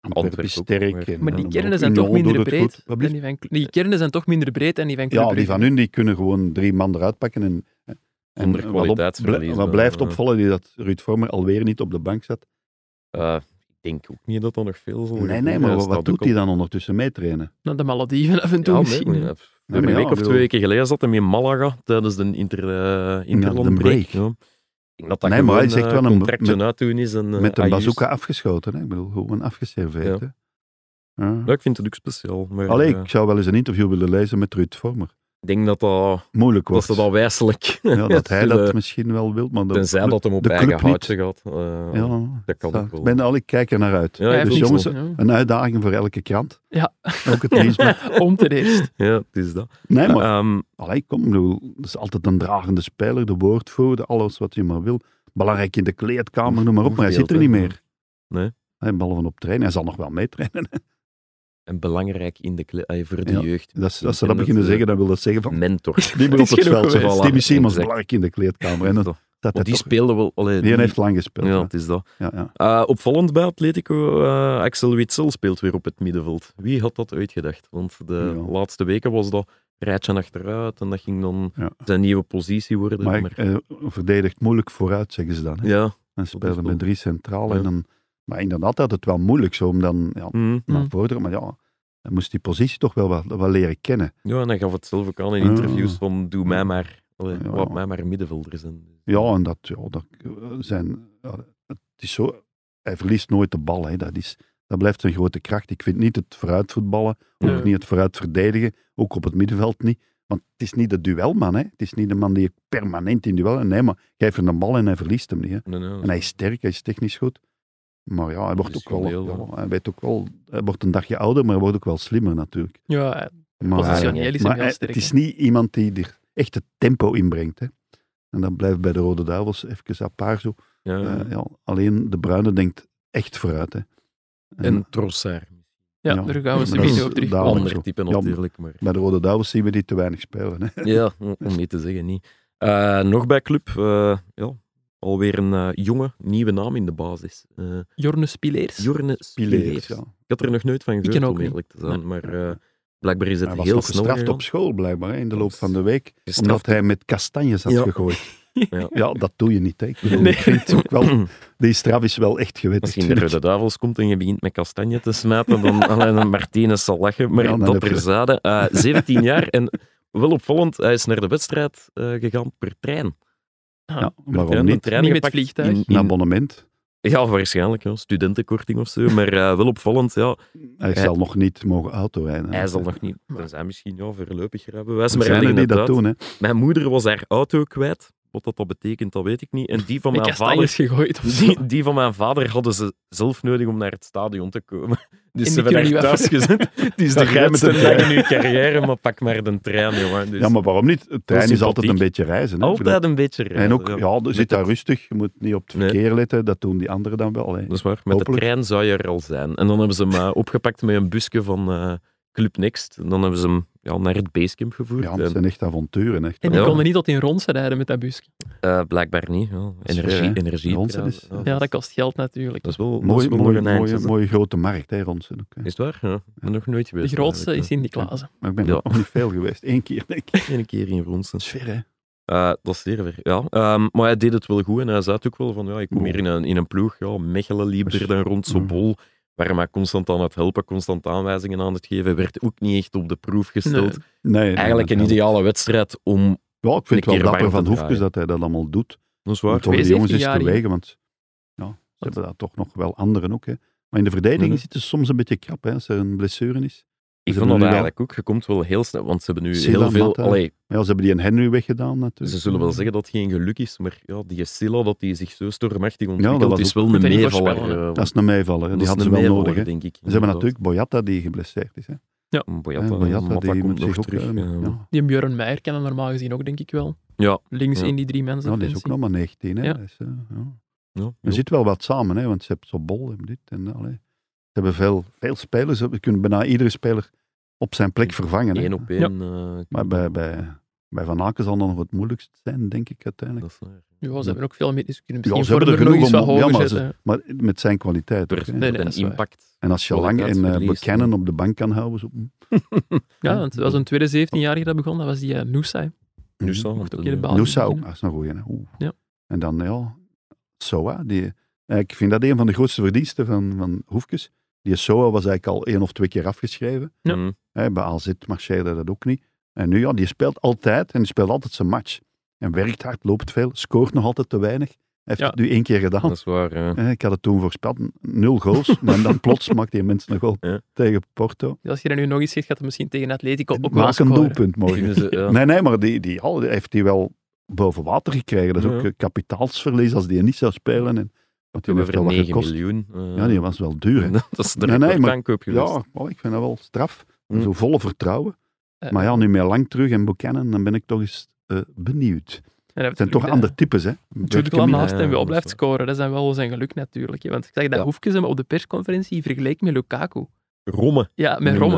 D: Antwerpen is
B: ook,
D: sterk.
B: maar-
D: en-
C: Maar
D: en
C: die
D: dan
C: kernen
D: ook
C: zijn
D: Union
C: toch minder
D: doet het goed.
C: breed.
D: Wat
C: dan
D: blieft?
C: die, van, die kernen zijn toch minder breed en die van Club
D: Ja, die
C: Brugge.
D: van hun die kunnen gewoon drie man eruit pakken. En, eh, en
B: Zonder eh.
D: wat op-
B: kwaliteitsverlies
D: bl-
B: dan,
D: Wat blijft
B: ja.
D: opvallen is dat Ruud Vormer alweer niet op de bank zat.
B: Eh, ik denk ook niet dat er nog veel zal
D: Nee, nee,
B: gebeuren.
D: maar
B: Hij
D: wat,
B: staat
D: wat doet
B: ook
D: hij dan ondertussen meetrainen?
C: Naar de Malediven af en toe
B: Ja, nee,
C: misschien.
B: maar ja,
D: maar
B: een
D: ja,
B: week of
D: ik bedoel-
B: twee weken geleden zat hij in Malaga tijdens de inter, eh interlandbreak.
D: break.
B: Ja. Ik denk dat dat
D: Nee, maar hij
B: gewoon,
D: zegt
B: eh,
D: wel een-
B: contractje
D: met-
B: uitdoen is. En, eh,
D: Met een
B: ah,
D: bazooka
B: juist.
D: afgeschoten, hè? ik bedoel, gewoon afgeserveerd.
B: Ja.
D: hè. Ja.
B: Ja, ik vind het ook speciaal. Maar,
D: Allee,
B: eh,
D: ik zou wel eens een interview willen lezen met Ruud Vormer.
B: ik denk dat dat,
D: Moeilijk
B: dat,
D: wordt.
B: ze dat wijselijk...
D: ja, dat hij
B: zullen-
D: dat misschien wel wil, maar... dat-
B: Tenzij eh, dat hem op
D: de
B: eigen
D: club niet.
B: houtje gaat. eh,
D: Ja,
B: dat kan
D: zou-
B: ook wel.
D: Ik ben al, ik kijk er naar uit.
B: Ja,
C: Ja,
B: dus
D: dus
C: ik
D: jongens,
C: vind het
D: een uitdaging voor elke krant.
C: Ja.
D: Ook het nieuwsblad.
C: wel, ja. Om te eerst.
B: Ja, het is dat.
D: Nee, maar
B: Ehm,
D: Allee, kom, ik bedoel, dat is altijd een dragende speler, de woordvoerder, alles wat je maar wil. Belangrijk in de kleedkamer, noem maar op, maar hij
B: Hoeveel,
D: zit er niet
B: hè?
D: meer.
B: Nee.
D: Hij behalve op trainen, hij zal nog wel meetrainen.
B: en belangrijk in de kle- eh, voor de
D: Ja,
B: jeugd.
D: Dat, is- als ze
B: En
D: dat beginnen
B: eh,
D: zeggen, dan wil dat zeggen van,
B: Mentor.
D: die
C: dat
D: meer op
C: is
D: het
C: genoeg
D: veld.
C: geweest.
D: zit. Timmy
B: Voilà, exact.
D: Simons, belangrijk in de kleedkamer. En dat,
B: Want
D: dat hij
B: die
D: toch-
B: speelde wel... Allee,
D: die heeft lang gespeeld.
B: Ja,
D: Ja,
B: het is dat.
D: ja, ja.
B: Eh, opvallend bij Atletico, eh, Axel Witsel speelt weer op het middenveld. Wie had dat uitgedacht? Want de
D: Ja.
B: laatste weken was dat rijtje achteruit en dat ging dan
D: Ja.
B: zijn nieuwe positie worden.
D: Maar
B: maar-
D: hij verdedigt moeilijk vooruit, zeggen ze dan. Hè.
B: ja,
D: En spelen
B: wel-
D: met drie centralen.
B: Ja.
D: En dan, maar inderdaad had het wel moeilijk zo om dan ja,
B: mhm.
D: naar
C: Mm.
D: vorderen. Maar ja, hij moest die positie toch wel wat, wat leren kennen.
B: ja, en hij gaf het zelf ook aan in
D: Ja.
B: interviews van doe mij maar, allee,
D: Ja.
B: laat mij maar middenvelder zijn.
D: Ja, en dat, ja, dat eh, zijn. ja, Het is zo, hij verliest nooit de bal. Hè. Dat, is, dat blijft zijn grote kracht. Ik vind niet het vooruitvoetballen, ook
C: Nee.
D: niet het vooruit verdedigen, ook op het middenveld niet. Want het is niet de duelman. Hè. Het is niet de man die permanent in duel. Nee, maar geef hem de bal en hij verliest hem niet. Hè.
B: Nee, nee,
D: En hij is sterk, hij is technisch goed. Maar ja, hij, wordt ook wel,
B: Positioneel,
D: ja, hij, weet ook wel, hij wordt een dagje ouder, maar hij wordt ook wel slimmer natuurlijk.
C: Ja,
D: Maar,
C: positioneel is
D: maar
C: hem
D: hij-
C: heel sterk.
D: het is niet iemand die er echt het tempo inbrengt. Hè. En dat blijft bij de Rode Duivels even apart zo.
B: ja.
D: Eh, ja, alleen de Bruine denkt echt vooruit. Hè.
B: En Trossard.
C: Ja,
D: Ja,
C: daar gaan we
D: maar
C: ze
D: dat
C: op
D: is
C: terug.
D: daar-
B: Ander
D: zo.
B: type
D: Ja,
B: natuurlijk, maar...
D: bij de Rode Duivels zien we die te weinig spelen. Hè.
B: Ja, om om niet te zeggen, niet. Eh, nog bij club, eh, ja, alweer een eh, jonge, nieuwe naam in de basis. Eh
C: Jorne Spileers.
B: Jorne Spileers.
D: Pileers, ja.
B: Ik had er nog nooit van
C: ken
B: gehoord,
C: ook
B: om
C: niet.
B: eerlijk te zijn. Maar eh, blijkbaar is het
D: Hij was
B: heel
D: nog
B: snel
D: gestraft
B: gegaan.
D: op school, blijkbaar, hè, in de loop van de week.
B: Gestraft
D: Omdat hij met kastanjes had
B: Ja.
D: gegooid.
B: Ja.
D: Ja. dat doe je niet. Hè. Ik bedoel,
C: Nee.
D: ik vind het ook wel, die straf is wel echt gewettigd.
B: Misschien de
D: vind ik.
B: Rode Duivels komt en je begint met kastanje te smijten, dan alleen Martinez zal lachen. Maar
D: Ja, dan
B: dat
D: heb je-
B: terzade, eh 17 jaar en wel opvallend, hij is naar de wedstrijd eh, gegaan per trein.
D: Ja,
B: Per
D: waarom
B: trein, de
D: niet?
B: trein
C: Niet Ah. met
B: gepakt
C: vliegtuig?
B: in- in-
D: Een abonnement.
B: ja, waarschijnlijk, ja, studentenkorting of zo. Maar eh, wel opvallend, ja,
D: Hij
B: Hij-
D: zal nog niet mogen autorijden.
B: Hij zal nog niet. Dan zijn misschien ja, voorlopig rijbewijs.
D: Er
B: Maar hij
D: zijn er
B: ligt
D: die
B: het
D: dat
B: uit.
D: doen, hè.
B: Mijn moeder was haar auto kwijt. Wat dat, dat betekent, dat weet ik niet. En die van
C: Met
B: mijn
C: kastanjes
B: vader.
C: gegooid of zo.
B: Die, die van mijn vader hadden ze zelf nodig om naar het stadion te komen. Dus
C: die
B: ze hebben
C: kunnen
B: haar
C: niet
B: thuis gezet. Het is de
D: Dan ga je met
B: grootste
D: de
B: dag in
D: trein.
B: uw carrière, maar pak maar de trein, jongen. Dus
D: Ja, maar waarom niet? Het trein is
B: sympathiek.
D: altijd een beetje reizen. Hè. Ik bedoel,
B: Altijd een beetje
D: En
B: rijden,
D: ook, ja,
B: Met
D: zit daar
B: het-
D: rustig. Je moet niet op het
B: Nee.
D: verkeer letten. Dat doen die anderen dan wel. Hè.
B: Dat is waar. Met
D: Hopelijk.
B: de trein zou je er al zijn. En dan hebben ze hem eh, opgepakt met een busje van eh, Club Next. En dan hebben ze hem ja, naar het basecamp gevoerd.
D: Ja,
B: En-
D: dat zijn echt avonturen. Echt.
C: En die
B: Ja.
C: konden niet tot in Ronsen rijden met dat busje.
B: Eh, blijkbaar niet. Ja.
D: is
B: Energie,
D: ver, hè?
B: energie.
D: Ronsen is-
C: Ja, dat kost geld natuurlijk.
B: dat is wel dat
D: Mooi,
B: is wel nog
D: mooie,
B: een eindje.
D: mooie, mooie grote markt, hè, Ronsen. ook, hè.
B: Is het waar? Ja. Ik ben nog nooit
C: De
B: geweest.
C: grootste is
B: eigenlijk,
C: Sint-Niklaas.
D: Maar ik ben
B: Ja.
D: er nog niet veel geweest. Eén keer, denk ik.
B: hè. Eén keer in Ronsen.
D: Dat is ver, hè.
B: Eh, dat is zeer ver, ja. Ehm, maar hij deed het wel goed en hij zei het ook wel van, ja, ik kom
D: Wow.
B: hier in een, in een ploeg, ja, Mechelen liep er dan rond, zo
D: Mm.
B: bol, waren mij constant aan het helpen, constant aanwijzingen aan het geven, Hij werd ook niet echt op de proef gesteld.
D: Nee, nee,
B: Eigenlijk
D: dat
B: een
D: helpt.
B: ideale wedstrijd om...
D: Ja, ik vind
B: een
D: het
B: keer
D: wel dapper
B: warm
D: van
B: te
D: Hoefkes
B: draaien.
D: dat hij dat allemaal doet.
B: Dat is
D: Om
B: waar.
D: toch de
C: 17
D: jongens eens
C: jaar
D: te
C: hier.
D: wegen, want ja, ze hebben daar toch nog wel anderen ook. Hè. Maar in de verdediging
B: Mhm.
D: zit het dus soms een beetje krap, hè, als er een blessure is.
B: Ik
D: Ze
B: vond
D: hebben
B: dat
D: nu
B: eigenlijk ook, je komt wel heel snel, want ze hebben nu
D: Silla,
B: heel veel...
D: Mata.
B: Allee,
D: Maar ja, ze hebben die een Henry weggedaan natuurlijk.
B: Ze zullen wel zeggen dat het geen geluk is, maar ja, die Silla, dat die zich zo stormachtig
D: dat
B: ontwikkelt,
D: was
B: is
D: ook-
B: wel
C: Moet
B: een
C: je niet
B: meevaller.
C: voorspellen,
B: eh, want
D: Dat is een meevaller, hè.
B: dat
D: die
B: is
D: hadden ze
B: een
D: wel
B: meevaller,
D: nodig. Hè.
B: denk ik.
D: Ze hebben natuurlijk Boyata die geblesseerd is. Hè.
B: Boyata,
D: Hè,
B: Boyata,
D: Boyata die
B: komt
D: moet
B: nog
D: zich ook...
B: terug.
D: eh,
B: eh,
D: ja.
C: Die Björn Meijer kennen normaal gezien ook, denk ik wel.
B: Ja.
C: Links
B: Ja.
C: in die drie mensen.
D: Ja, die is ook nog maar 19. Hè.
C: Ja.
D: Dat is, eh, ja.
B: ja,
D: Er
B: ja.
D: zit wel wat samen, hè, want ze hebben zo bol en dit en dat. Ze hebben veel, veel spelers. Ze kunnen bijna iedere speler op zijn plek vervangen. Hè.
B: Eén op één. eh,
D: Maar bij, bij, bij Van Aken zal dat nog het moeilijkst zijn, denk ik uiteindelijk.
B: dat is waar.
C: Ja, ze hebben ook veel meer. Dus ze kunnen
D: Ja,
C: misschien
D: ze hebben
C: vorder
D: er
C: nog eens
D: genoeg
C: wat hoger
D: om- ja, maar ze-
C: zetten.
D: Maar met zijn kwaliteit. ook,
B: Per,
D: hè.
C: nee,
B: per
C: dat is
B: een
C: waar.
B: impact.
D: En als je lang en eh,
B: kwaliteitsverlies,
D: bekennen op de bank kan houden. Zo,
C: Ja, want dat was een tweede 17-jarige dat begon. Dat was die eh, Noosa.
D: Mhm. Hmm.
B: Nu zal eh,
C: Mocht
B: het
C: ook in de
B: een-
C: baan.
D: Nusa ook, ah, dat is een goeie. Hè. Oeh.
C: Ja.
D: En dan, ja, Soa. Die, eh, ik vind dat een van de grootste verdiensten van, van Hoefkes. Die Soa was eigenlijk al één of twee keer afgeschreven.
C: Ja.
B: Mm.
D: Hè, bij AZ marcheerde dat ook niet. En nu, ja, die speelt altijd en die speelt altijd zijn match. En werkt hard, loopt veel, scoort nog altijd te weinig. Hij heeft
C: Ja.
D: het nu één keer gedaan.
B: Dat is waar. eh.
D: Eh, Ik had het toen voorspeld, nul goals. maar dan plots maakt die mensen een goal
B: Ja.
D: tegen Porto.
C: Dus als je dat nu nog eens zegt, gaat het misschien tegen Atletico ook wel
D: Maak een
C: scoren.
D: doelpunt morgen.
B: Vinden ze, eh, ja.
D: Nee, nee, maar die, die, al- die heeft hij wel boven water gekregen. Dat is ook
B: Ja.
D: eh, kapitaalsverlies als die niet zou spelen. En, want die
B: Toen
D: heeft
B: over
D: al wat
B: 9
D: gekost.
B: miljoen. eh,
D: Ja, die was wel duur. Hè.
B: dat is de
D: Nee, nee, maar-
B: recordaankoop geweest.
D: Ja, wel, ik vind dat wel straf.
B: Hm.
D: Zo vol vertrouwen.
C: Eh,
D: Maar ja, nu meer lang terug en Buchanan, dan ben ik toch eens eh, benieuwd.
C: en hij
D: Het zijn toch
C: natuurlijk
D: andere types, hè?
C: Jude
D: Berkemir.
C: Glam
B: Ja,
C: naast en
B: ja,
C: wel
B: dat
C: blijft
B: is
C: scoren. Dat zijn wel zijn geluk natuurlijk. hè. Want ik zeg dat
D: Ja.
C: Hoefkes hem op de persconferentie vergeleek met Lukaku.
B: Romme.
C: Ja, met Romme.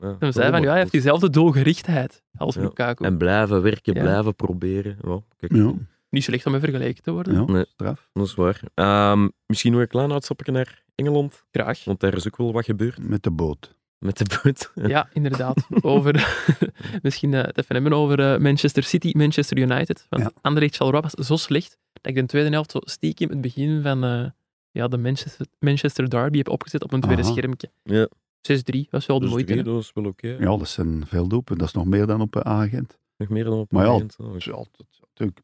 B: eh,
C: Toen zei van, ja, hij heeft diezelfde doelgerichtheid als
B: Oh, Ja.
C: Lukaku.
B: En blijven werken,
C: Ja.
B: blijven proberen. Ja, kijk,
D: Ja,
C: Niet slecht om mee vergeleken te worden.
D: ja
B: Nee.
D: straf.
B: dat is waar. Ehm, misschien nog een klein uitstapje naar Engeland.
C: Graag.
B: Want daar is ook wel wat gebeurd
D: Met de boot.
B: met de boot.
C: Ja, inderdaad. Over, misschien eh, het even hebben over eh, Manchester City, Manchester United. Want
D: Ja.
C: Anderlecht Charleroi was zo slecht dat ik de tweede helft zo stiekem het begin van eh, ja, de Manchester, Manchester Derby heb opgezet op een tweede
D: Aha.
C: schermpje.
B: Ja.
C: 6-3 was wel de
B: Dus
C: moeite.
B: drie,
C: hè.
B: dat is wel oké.
D: Ja, dat zijn veel doelpunten. Dat is nog meer dan op eh, een agent.
B: Nog meer dan Oh, op
D: Maar ja,
B: een moment, hè.
D: Dus ja, dat- natuurlijk,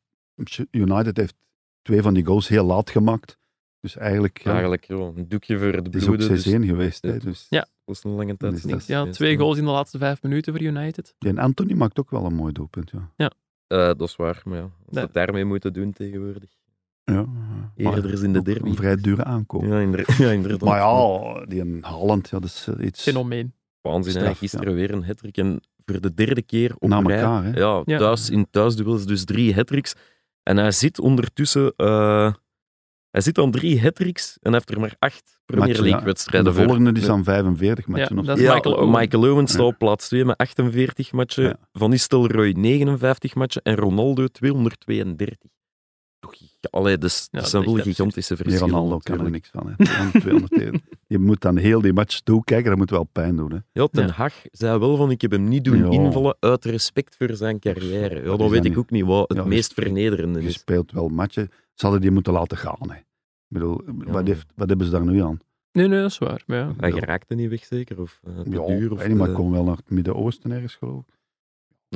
D: United heeft twee van die goals heel laat gemaakt. Dus eigenlijk, ja,
B: Eigenlijk ja, een doekje voor het
D: het is ook 6-1
B: bloeden. Dus dat
D: geweest. Hè,
B: Ja.
D: dus
C: Ja.
B: was een lange
D: Dan
B: tijd.
D: is
B: niks
D: dat-
C: Ja,
B: geweest,
C: twee
B: hè.
C: goals in de laatste vijf minuten voor United.
D: En Anthony maakt ook wel een mooi doelpunt. Ja.
C: Ja.
B: Eh, dat is waar, maar ja, als we
C: Nee.
B: het daarmee moeten doen tegenwoordig.
D: Ja.
B: Eerder is in de
D: ook
B: derby.
D: Een vrij dure aankoop.
B: Ja, inder- ja, inderdaad.
D: Oh. Maar ja, die in Haaland, ja, dat is eh, iets
C: Fenomeen.
B: Waanzin, hè.
D: straf,
B: gisteren weer een hattrick en voor de derde keer op
D: na
B: rij.
D: elkaar. Hè.
B: Ja,
C: Ja.
B: Thuis, in thuisduels dus drie hattricks. En hij zit ondertussen eh, Hij zit aan drie hat-tricks en heeft er maar acht Premier
D: Matchen, ja.
B: League-wedstrijden
D: de
B: voor.
D: volgende is dan 45 matchen.
C: Ja,
D: of
C: dat
D: zo.
C: is
B: Ja,
C: Michael Owen.
B: staat op plaats 2 met 48 matchen.
D: Ja.
B: Van Nistelrooy 59 matchen en Ronaldo 232. Toch, giga- allee, dus,
C: Ja,
B: dat
C: dat
B: zijn
C: is
B: wel
C: echt absurd.
B: gigantische
D: Die
B: verschillen.
D: Ronaldo kan er
B: natuurlijk.
D: niks van. Hè. 200. eh, je moet dan heel die match toekijken, dat moet wel pijn doen. Hè.
B: Ja, Ten
C: Ja.
B: Hag zei wel van ik heb hem niet doen
D: Ja.
B: invallen uit respect voor zijn carrière. Ja, dan
D: Dat is
B: weet
D: dan
B: ik
D: niet-
B: ook niet wat het
D: Ja,
B: meest
D: respect-
B: vernederende
D: Je
B: is.
D: speelt wel matchen. Ze hadden die moeten laten gaan. Hè. Ik bedoel,
B: maar-
D: wat, heeft, wat hebben ze daar nu aan?
C: Nee, nee, dat is waar. Maar ja.
B: Hij
D: Ja.
B: raakte niet weg zeker? Of eh, te
D: Ja,
B: duur? Of
D: weet niet, maar
B: te-
D: ik kon wel naar het Midden-Oosten ergens, geloof ik.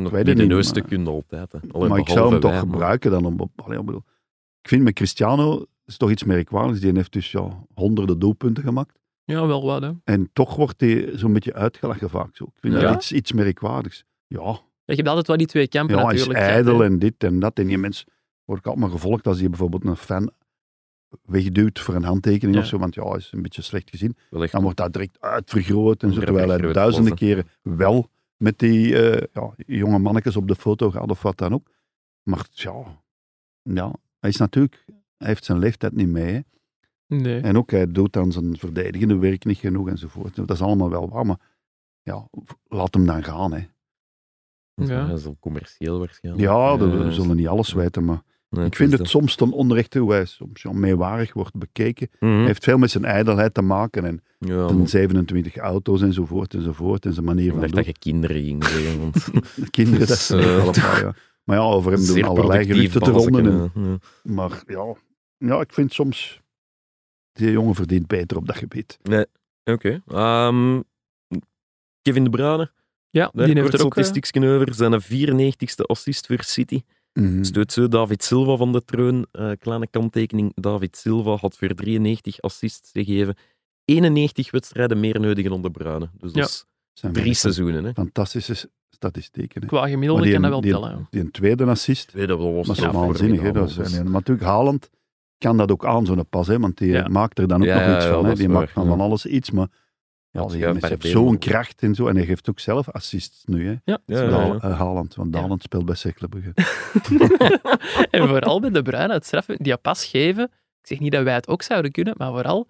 B: nog
D: weet het
B: niet de
D: niet,
B: neuste
D: maar-
B: kunnen altijd. hè. Allee,
D: maar ik
B: behalve
D: zou hem toch
B: wij, maar-
D: gebruiken dan. Op, op- allee, ik bedoel, ik vind met Cristiano, is toch iets merkwaardigs. Die heeft dus ja, honderden doelpunten gemaakt.
C: ja, wel wat, hè.
D: En toch wordt hij zo'n beetje uitgelachen vaak zo. Ik vind
C: Ja?
D: dat iets, iets merkwaardigs. Ja,
C: Je hebt altijd wel die twee kampen,
D: ja hij is
C: natuurlijk.
D: ijdel en dit en dat. En die mensen word ik allemaal gevolgd als die bijvoorbeeld een fan wegduwt voor een handtekening
C: Ja.
D: of zo. Want ja, hij is een beetje slecht gezien.
B: Wel echt
D: Dan wordt dat direct uitvergroot en zo.
B: Ja,
D: Terwijl hij
B: vergroot,
D: duizenden
B: was
D: keren wel met die eh, ja, jonge mannetjes op de foto gaat of wat dan ook. Maar ja, ja hij is natuurlijk, hij heeft zijn leeftijd niet mee. hè.
C: Nee.
D: En ook hij doet dan zijn verdedigende werk niet genoeg enzovoort. Dat is allemaal wel waar, maar ja, laat hem dan gaan. Hè.
C: Ja.
B: Dat is wel commercieel waarschijnlijk.
D: Ja, dat-
B: Eh,
D: we zullen niet alles weten, maar
B: nee,
D: ik vind
B: is
D: het
B: dat.
D: soms ten onrechte hoe hij soms ja, meewarig wordt bekeken.
B: Mhm.
D: Hij heeft veel met zijn ijdelheid te maken en
B: Ja,
D: zijn
B: maar
D: 27 auto's enzovoort enzovoort en zijn manier
B: ik
D: van
B: dacht
D: doen.
B: dat je kinderen ging zeggen. Want
D: De kinderen, dat
B: Dus,
D: zijn
B: eh,
D: wel een paar, ja. Maar ja, over hem doen
B: zeer
D: allerlei
B: productief eh.
D: geruchten te ronden. en-
B: balken, hè. Ja.
D: maar ja, ja, ik vind soms... Die jongen verdient beter op dat gebied.
B: Oké. Ehm, Kevin De Bruyne,
C: Ja,
B: daar
C: die heeft
B: kort
C: er ook... eh,
B: statistiekje over. Zijn 94ste assist voor City.
D: Hmm.
B: Stoot zo David Silva van de troon. Eh, kleine kanttekening. David Silva had voor 93 assists gegeven. 91 wedstrijden meer nodig dan De Bruyne. Dus dat
C: Ja.
B: is
D: Zijn
B: drie seizoenen. Hè.
D: Fantastische s- statistieken. Hè.
C: eh, Qua
D: Maar
C: gemiddelde
D: die-
C: kan dat wel
D: die-
C: tellen. ja.
D: Die een tweede assist,
B: Weet dat wel, was
D: maar zo
B: ja,
D: waanzinnig. Hè,
B: formidabel.
D: dat is, en- maar natuurlijk, Haaland kan dat ook aan, zo'n pas. Hè, want die
C: Ja.
D: maakt er dan ook
B: Ja, ja,
D: nog iets
B: ja,
D: van. Hè,
B: dat is
D: die
B: waar,
D: maakt van,
B: ja.
D: van alles iets, maar... Ja,
B: Dat
D: die
B: schuift
D: mens
B: bij de
D: heeft
B: benen,
D: zo'n
B: hoor.
D: kracht en zo. En hij geeft ook zelf assists nu, hè.
C: Ja.
B: Ja, ja, ja.
D: Haal- eh, Haaland, want
C: Ja.
D: Haaland speelt bij Cerkelenbrugge.
C: en vooral bij de Bruine, het straffen, die pas geven. Ik zeg niet dat wij het ook zouden kunnen, maar vooral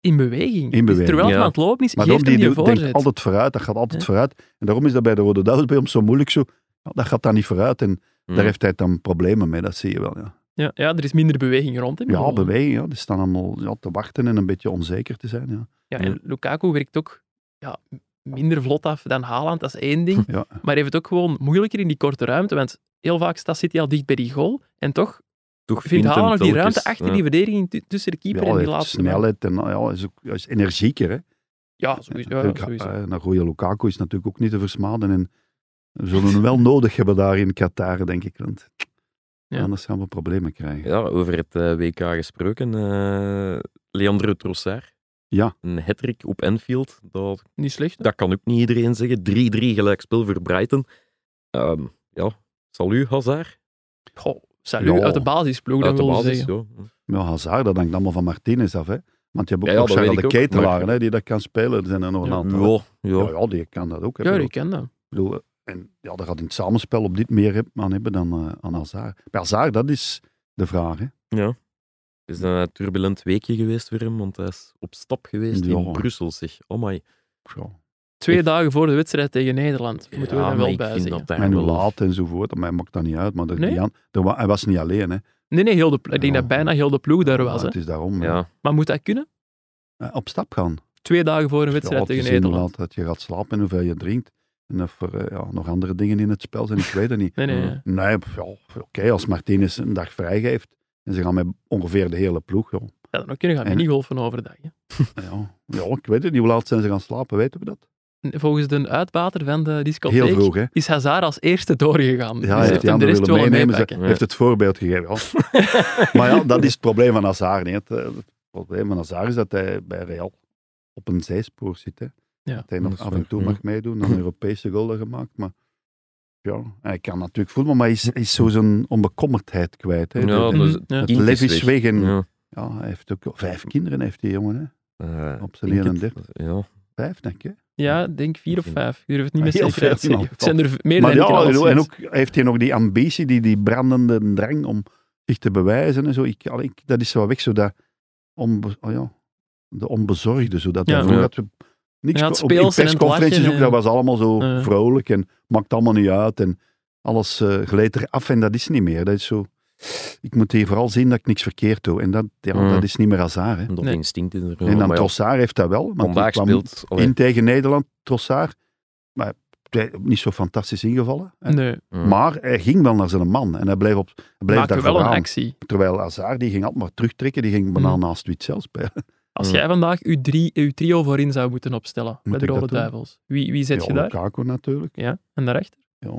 C: in beweging.
D: In beweging,
C: Terwijl hij
B: ja.
C: aan het lopen is,
D: Maar
C: geeft
D: daarom,
C: hem die,
D: die, doet- denkt
C: voorzet.
D: altijd vooruit, dat gaat altijd
C: Ja.
D: vooruit. En daarom is dat bij de Rode Duivels bij ons zo moeilijk zo. ja, dat gaat dan niet vooruit en
B: Hm.
D: daar heeft hij dan problemen mee, dat zie je wel. Ja,
C: Ja, ja, er is minder beweging rond hem.
D: ja
C: Gewoon.
D: beweging, ja. die staan allemaal ja, te wachten en een beetje onzeker te zijn. Ja.
C: Ja, en Lukaku werkt ook ja, minder vlot af dan Haaland, dat is één ding.
D: Ja.
C: Maar hij heeft het ook gewoon moeilijker in die korte ruimte, want heel vaak staat City al dicht bij die goal. En toch
B: Toch
C: vindt
B: hem
C: Haaland nog die
B: telkens,
C: ruimte achter
B: ja.
C: die verdediging tu- tussen de keeper
D: ja,
C: en
D: hij
C: die
D: heeft
C: laatste. man.
D: snelheid en nou ja, hij is, ook, hij is energieker. Hè.
C: Ja, sowieso. Ja,
D: Natuurlijk,
C: sowieso.
D: eh, een goede Lukaku is natuurlijk ook niet te versmaden. En we zullen hem wel nodig hebben daar in Qatar, denk ik. Want
C: Ja.
D: anders gaan we problemen krijgen.
B: Ja, over het eh, WK gesproken. eh, Leandro Trossard.
D: Ja.
B: Een hattrick op Enfield. Dat,
C: Niet slecht. hè?
B: dat kan ook niet iedereen zeggen. 3-3 gelijkspel voor Brighton. Ehm ja, salu Hazard.
C: Goh, salut,
D: Ja.
C: uit de basisploeg,
B: Uit
C: dat
B: de
C: wil je
B: basis,
C: zeggen.
B: ja.
D: Ja, Hazard, dat hangt allemaal van Martinez af. Hè. Want je hebt
B: Ja,
D: ook
B: ja,
D: nog
B: dat
D: Charles
B: weet
D: de
B: ik ook, maar-
D: Ketelaar hè, die dat kan spelen. Er zijn er nog een
C: Ja.
D: aantal.
B: Ja, ja.
D: Ja, ja, die kan dat ook. hè.
C: Ja,
D: Ik
C: die ken dat.
D: bedoel, eh, en ja, daar gaat in het samenspel op dit meer heb- aan hebben dan eh, aan Hazard. Bij Hazard, dat is de vraag. Hè.
B: Het is een turbulent weekje geweest voor hem, want hij is op stap geweest
D: Ja.
B: in Brussel, zeg. Oh my.
D: Zo.
C: Twee dagen voor de wedstrijd tegen Nederland. Moeten we
B: Ja,
C: daar
B: maar
C: wel
B: ik
C: bij
B: vind
C: zeggen.
B: dat daar
D: En hoe
B: wel-
D: laat enzovoort, maar hij maakt dat niet uit. Maar er,
C: Nee?
D: die aan- er wa- hij was niet alleen. Hè.
C: Nee, nee, heel de, plo- ik denk
D: Ja.
C: dat bijna heel de ploeg daar was.
D: Ja,
C: Hè.
D: het is daarom. hè.
B: Ja,
C: Maar moet dat kunnen?
D: Eh, Op stap gaan.
C: Twee dagen voor een wedstrijd
D: Ja, het
C: tegen
D: is inderdaad
C: Nederland.
D: Dat je gaat slapen en hoeveel je drinkt. En of er eh, ja, nog andere dingen in het spel zijn, ik weet het niet.
C: Nee, nee.
B: Mm.
C: ja.
D: Nee, pff, ja, oké, als Martinez een dag vrijgeeft en ze gaan met ongeveer de hele ploeg. joh.
C: Ja, dan ook kunnen gaan
D: En-
C: minigolfen overdag. Hè.
D: Ja, ja, ik weet het niet. Hoe laat zijn ze gaan slapen, weten we dat?
C: Volgens de uitbater van de discotheek
D: Heel vroeg, hè?
C: is Hazard als eerste doorgegaan.
D: Ja,
C: dus
D: heeft
C: heeft
D: die
C: hem de
D: anderen
C: rest
D: willen
C: wel een
D: meenemen. Ze
C: meepakken.
B: Ja.
D: heeft het voorbeeld gegeven. ja. maar ja, dat is het probleem van Hazard. niet. Het, eh, het probleem van Hazard is dat hij bij Real op een zijspoor zit. Hè.
C: Ja.
D: dat hij
B: Dat
D: nog
B: is
D: af
B: waar,
D: en toe
B: ja.
D: mag meedoen. Dan een Europese goal gemaakt. Maar ja, hij kan natuurlijk voetbal, maar hij is, hij is zo zijn onbekommerdheid kwijt. Hè.
B: Ja,
D: De- de-
B: dus
C: Mhm, ja.
D: het
B: kind is
D: lef is weg. en, ja.
B: ja.
D: hij heeft ook vijf kinderen, heeft die jongen. Hè.
B: Eh,
D: Op zijn
B: ik denk
D: 31.
B: het- Ja.
D: Vijf, denk ik. hè.
C: Ja, ik denk vier of
B: Misschien.
C: vijf. Ik durf het niet meer
D: Heel
C: zeker
D: veel
C: uit te zeggen.
D: in elk
C: Het zijn er meer
D: Maar
C: dan ik
D: ja,
C: er al
D: en ook-
C: sinds.
D: en ook heeft hij nog die ambitie, die, die brandende drang om zich te bewijzen en zo. Ik, allee, ik, dat is zo weg, zo dat onbe, oh ja, de onbezorgde. Zo dat
C: Ja.
D: daarvoor
B: Ja.
D: dat we niks
C: Ja, het
D: op die
C: speels en het
D: persconferenties
C: lachen,
D: ook,
C: eh.
D: dat was allemaal zo
C: Ja.
D: vrolijk en maakt allemaal niet uit en alles eh gleed eraf en dat is niet meer. Dat is zo, ik moet hier vooral zien dat ik niks verkeerd doe en dat, ja,
B: Mm.
D: dat is niet meer hazard. Hè.
B: Dat
C: Nee.
B: instinct in de
D: En dan
B: maar ja,
D: Trossard heeft dat wel, want die
B: vandaag
D: kwam
B: speelt... allee,
D: in tegen Nederland, Trossard, maar hij- niet zo fantastisch ingevallen. hè.
C: Nee,
B: Mm.
D: Maar hij ging wel naar zijn man en hij bleef, op, hij bleef
C: maak
D: daar
C: je wel een
D: vooraan.
C: actie.
D: Terwijl Hazard, die ging altijd maar terugtrekken, die ging bijna
C: Mm.
D: naast Witzel spelen.
C: Als
B: Mm.
C: jij vandaag je, drie, je trio voorin zou moeten opstellen
D: Moet
C: bij
D: ik
C: de Rode
D: dat doen?
C: Duivels, wie, wie zet
D: Ja,
C: je daar?
D: Lukaku natuurlijk.
C: Ja, en daarachter?
D: Ja,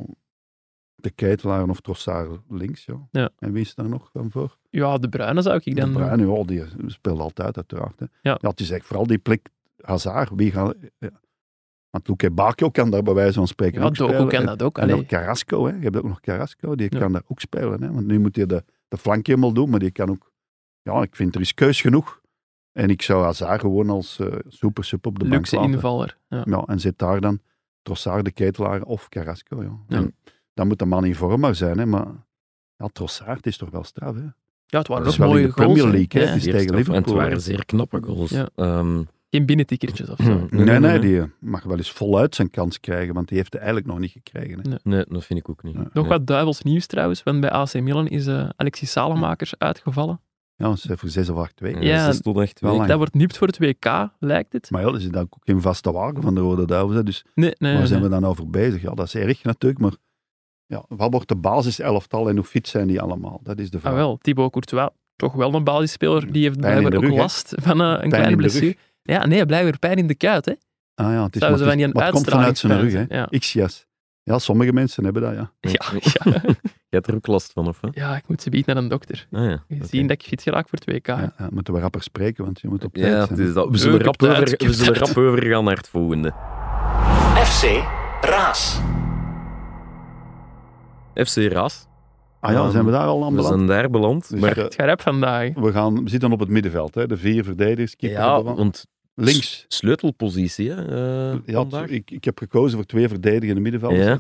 D: de Keitelaar of Trossard links. Ja.
C: Ja.
D: En wie is daar nog van voor?
C: Ja, de Bruine zou ik dan
D: de Bruyne, ja, die speelt altijd uiteraard. Hè.
C: Ja.
D: het is echt vooral die plek Hazard. Wie gaan, ja. Want Luke Bakio kan daar bij wijze van spreken
C: Ja,
D: ook
C: Doku
D: spelen.
C: kan
D: En-
C: dat ook.
D: En
C: allee.
D: dan Carrasco, hè. je hebt ook nog Carrasco, die
C: Ja.
D: kan daar ook spelen. Hè. Want nu moet hij de, de flank helemaal doen, maar die kan ook... Ja, ik vind er is keus genoeg. En ik zou Hazard gewoon als eh super sub op de bank
C: Luxe
D: laten. Mm.
C: invaller. Ja.
D: Ja, en zit daar dan Trossard, de Ketelaar of Carrasco. Ja.
C: Ja.
D: En Dan moet de man in vorm maar zijn, hè, maar... Ja, Trossard het is toch wel straf, hè?
C: ja, het waren
D: Dat
C: ook
D: is wel
C: mooie
D: in de
C: goals.
D: Premier
C: hè.
D: League, hè.
C: Ja.
D: Het is
B: Zeer
D: tegen
B: straf. En het
D: Liverpool.
B: waren zeer knappe goals.
C: Ja.
B: Ehm,
C: Geen binnentikkertjes of zo.
D: Nee, nee,
B: nee, nee.
D: die eh, mag wel eens voluit zijn kans krijgen, want die heeft hij eigenlijk nog niet gekregen. Hè.
C: Nee.
B: nee, dat vind ik ook niet.
D: Ja.
C: Nog
B: Nee.
C: wat duivels nieuws trouwens, want bij AC Milan is eh, Alexis Salemakers uitgevallen.
D: Ja, dat is voor 6 of 8 weken.
B: Ja,
C: Ja,
B: ze stond echt
D: wel
B: wel.
D: lang.
C: Dat wordt nipt voor het WK, lijkt het.
D: Maar ja, dat is dan ook geen vaste wagen van de Rode Duivels. hè. Dus
C: Nee, nee,
D: Waar
C: nee.
D: zijn we dan over bezig? Ja, dat is erg natuurlijk, maar ja, wat wordt de basiselftal en hoe fit zijn die allemaal? Dat is de vraag.
C: Ah wel, Thibaut Courtois, toch wel een basisspeler, die heeft
D: Pijn in
C: blijkbaar
D: de
C: ook
D: rug, hè?
C: last van eh, een
D: in de
C: kleine
D: rug.
C: blessure. Ja, nee, blijkbaar pijn in de kuit, hè.
D: Ah ja, het is,
C: Zouden
D: maar
C: ze
D: het
C: van
D: is-
C: die een
D: maar het komt vanuit zijn rug, hè?
C: uitstraling Ja.
D: X-jas. Ja, sommige mensen hebben dat, ja.
C: Ja, ja.
B: Je hebt er ook last van, of? Hè?
C: ja, ik moet ze bieden naar een dokter.
B: Ah, ja.
C: Zien
B: oké.
C: dat ik fit geraak voor het WK.
D: ja, ja moeten we rapper spreken, want je moet op tijd
B: Ja, het
D: zijn.
B: is dat. We zullen,
C: Ik
B: rap
C: heb het
B: over,
C: uit, ik
B: we
C: heb
B: zullen
C: het
B: rap overgaan naar het volgende.
F: FC Raas.
B: FC Raas.
D: Ah ja, zijn we daar al aan
B: We
D: beland?
B: zijn daar beland.
D: Dus,
B: maar
D: eh,
C: Het gaat rap vandaag.
D: we, gaan, we zitten op het middenveld, hè? de vier verdedigers, keeper op
B: ja,
D: de wand.
B: want
D: links.
B: sleutelpositie. Hè, eh,
D: Ja,
B: vandaag.
D: ik, ik heb gekozen voor twee verdedigende middenvelders,
B: Ja.